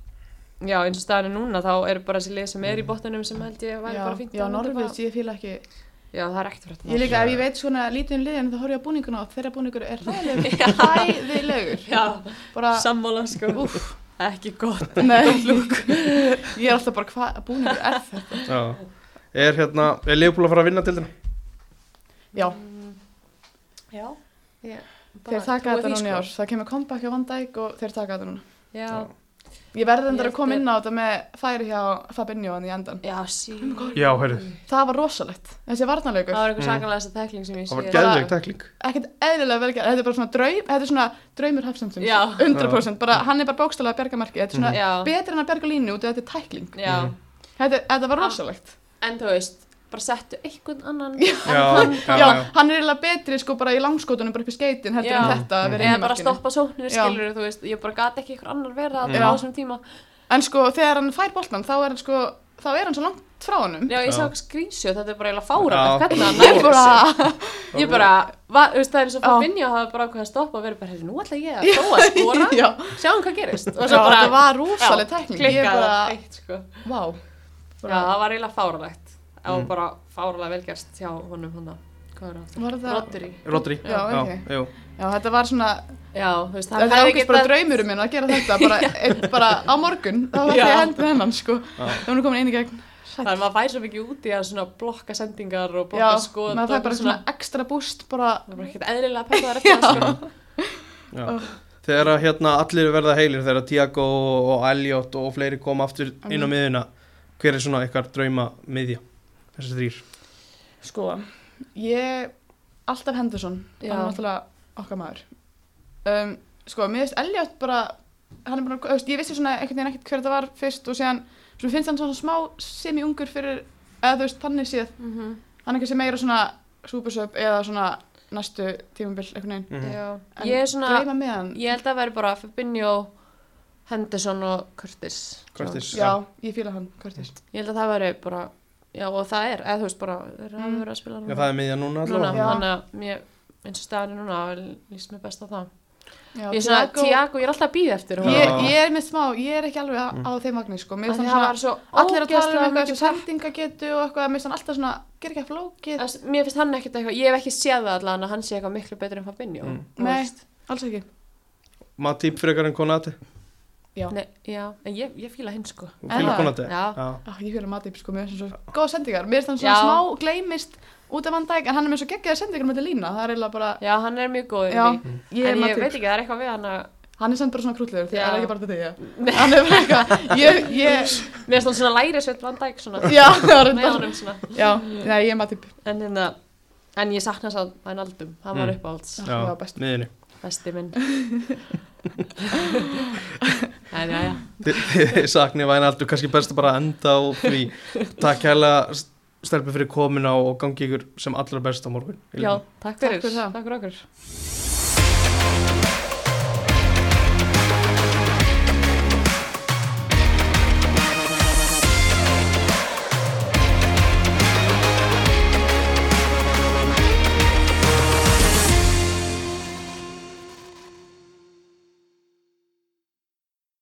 B: Já, eins og staðinu núna, þá eru bara þessi lið sem er í
A: Mm.
B: bottunum sem held ég væri bara fínt
C: já, já
B: að nota
C: Norvids, ég fíla ekki
B: bara- Já, það er ekkert fyrir
C: ég
B: þetta
C: líka, ef ég veit svona lítið um liðin þá horf ég á búninguna og þeirra búningur er hræðilegur hræðilegur
B: Já,
C: bara,
B: sammála sko
C: úff,
B: Ekki gott
C: nei ég er alltaf bara, hvað búningur er þetta
A: Já. Er hérna, er Leopold að fara að vinna til þetta?
C: já,
B: Já ég, bara
C: þeir taka
B: trúi
C: þetta
B: því,
C: núna í
B: sko.
C: ár það kemur comeback á Van Dijk og þeir taka þetta núna
B: Já,
C: Ég
B: Ég
C: verði endar að
B: held
C: koma
B: að-
C: inn á þetta með færi hjá Fabinho hann í endan.
B: já, sí
A: Já, heyrðu,
C: Það var rosalegt. Þessi
B: Það
C: varnarleikur.
B: var eitthvað
A: Mm.
B: sakalega þessa tekling sem ég
A: það var
B: sé
A: geðveik tekling
C: Ekkert eðlilega vel gert. Þetta er bara svona draum, þetta er svona draumur hafsendum.
B: Já. Mm.
C: 100%. Bara, hann er bara bókstælega að berga marki. Þetta er svona
B: Já,
C: betur en að berga línu út af þetta er tækling.
B: já
A: Mhm.
C: Þetta, þetta var
B: Ah.
C: rosalegt.
B: En þú veist, bara settu einhvern annan
A: Já, já,
C: Já,
A: já
C: hann er eiginlega betri sko bara í langskotunum, bara upp í skeitin heldur
B: Já.
C: en þetta að vera
B: Eða
C: inn í
B: bara
C: markinu.
B: stoppa sóknir,
C: Já.
B: skilur þú veist Ég bara gat ekki einhver annar
A: Já.
B: vera þarna á þessum tíma
C: En sko þegar hann fær boltan þá er hann sko, þá er hann svo langt frá honum.
B: Já, ég
A: Já.
B: sá eitthvað skrýnsjóð, þetta er bara
A: Já.
B: eiginlega fáralegt Hvernig hann
C: Ég
B: nærður sig
C: bara,
B: Ég bara, va, þú veist, það er eins og
C: Já.
B: fór vinja og hafa bara ákveð að stoppa og vera bara, heyrðu, nú ætla ég að prófa að skora
C: já,
B: Sjáum hvað gerist Og
C: já,
B: svo bara,
C: þetta var rosaleg tækling. Ég
B: klikkað
C: bara,
B: það eitt, sko
C: vá.
B: Já, það var eiginlega fáralegt Það var
A: Mm.
B: bara fáralega velgerst hjá honum hann Hvað er það?
C: Var það,
B: Rodri
A: Rodri
C: Já, ok.
A: já,
C: já þetta var svona
B: Já, þú veist,
C: Þetta er ákveðs bara draumurum minn að gera þetta bara, einn- bara á morgun, þá ætla ég
B: Já.
C: að henda hennan sko
A: Já.
C: þá er hún komin einu gegn
B: Það er maður fæði svo mikið út í að svona blokka sendingar og
C: Já,
B: blokka skoð
C: maður fær
B: og
C: bara svona ekstra búst bara,
B: Það er bara ekkert eðlilega að peppa þær eftir það sko
A: já, já. Þegar að hérna allir verða heilir þegar Tiago og Elliot og fleiri koma aftur
B: Mhm.
A: inn á miðuna hver er svona ykkar drauma miðja? Þessi þrýr
C: sko ég, alltaf Henderson
B: Já.
C: hann er náttúrulega okkar maður um, sko, mér finnst Elliot bara hann er bara, þú veist, ég vissi svona einhvern veginn ekkert hver þetta var fyrst og síðan, svo finnst hann svona smá semi-ungur fyrir, eða þú veist, þannig séð hann er kannski meira svona súpersöp eða svona næstu tímabil, einhvern veginn
A: Mhm.
B: Já.
C: En
B: Ég er svona,
C: gleyma með hann
B: ég held að væri bara Fabinho, Henderson og Curtis
A: Curtis,
C: Já, ég fíla hann, Curtis.
B: Ég held að það væri bara, já og það er, eða þú veist bara, það er að
C: Mm.
B: vera að spila
A: Já,
B: núna
A: það er miðja núna
B: Núna,
A: allavega
C: Já.
B: þannig að mér, eins og staðan er núna, þá líst mér best á það
C: Já,
B: Ég er svona,
C: Thiago-
B: Tiago, ég er alltaf að býða eftir honum.
C: Ég,
A: Já.
C: ég er með smá, ég er ekki alveg á, á þeim vagnir sko. Mér
B: Af
C: finnst
B: því hann
C: hann svona,
B: var svo
C: allir að tala um
B: ógeðslega
C: eitthvað
B: mikið
C: sem sendingagetu og eitthvað, mér finnst hann alltaf svona, ger ekki að flókið,
B: Þess- Mér finnst hann ekkert eitthvað, ég hef ekki séð það allan að hann sé eitthvað miklu betur en Fabinho
A: Mm.
B: Þú
C: Nei.
B: veist.
C: alls ekki.
A: Matip frekar en Konati
B: Nei, já, en ég, ég fíla hinn sko
A: Þú
C: En
A: fílar
C: það-
A: Konati?
B: Já.
C: Ah, ég fyrir matip sko, mér finnst hann svo góða sendingar, mér finnst hann
B: Já.
C: svona smá gleymist út af hann dag, en hann er með svo geggjaða sendingar með þetta lína, það er eiginlega bara,
B: Já, hann er mjög góður í
C: Já,
B: því.
C: ég er
B: En ég veit
C: matip.
B: ekki, það er eitthvað við hann að
C: Hann er samt bara svona krútlegur, það
B: Já.
C: er ekki bara þetta ég. Hann er bara eitthvað, ég, ég,
B: Mér finnst hann svona læri sveit Van Dijk svona
C: já, það var
B: Með
C: þetta.
B: honum svona
C: Já, nei, ég er matip.
B: En hérna En ég sakna þess að hann aldum Hann var
A: Mm.
B: uppáhalds
C: Já,
A: Já,
C: best.
A: miðjunni
B: Besti minn En já, já
A: Þið- Þið saknið væna aldur, kannski best að bara enda á því Takk hérlega stelpur fyrir komuna og gangi ykkur sem allra best á morgun
B: Já, takk fyrir
C: Takk fyrir það.
B: Takk fyrir okkur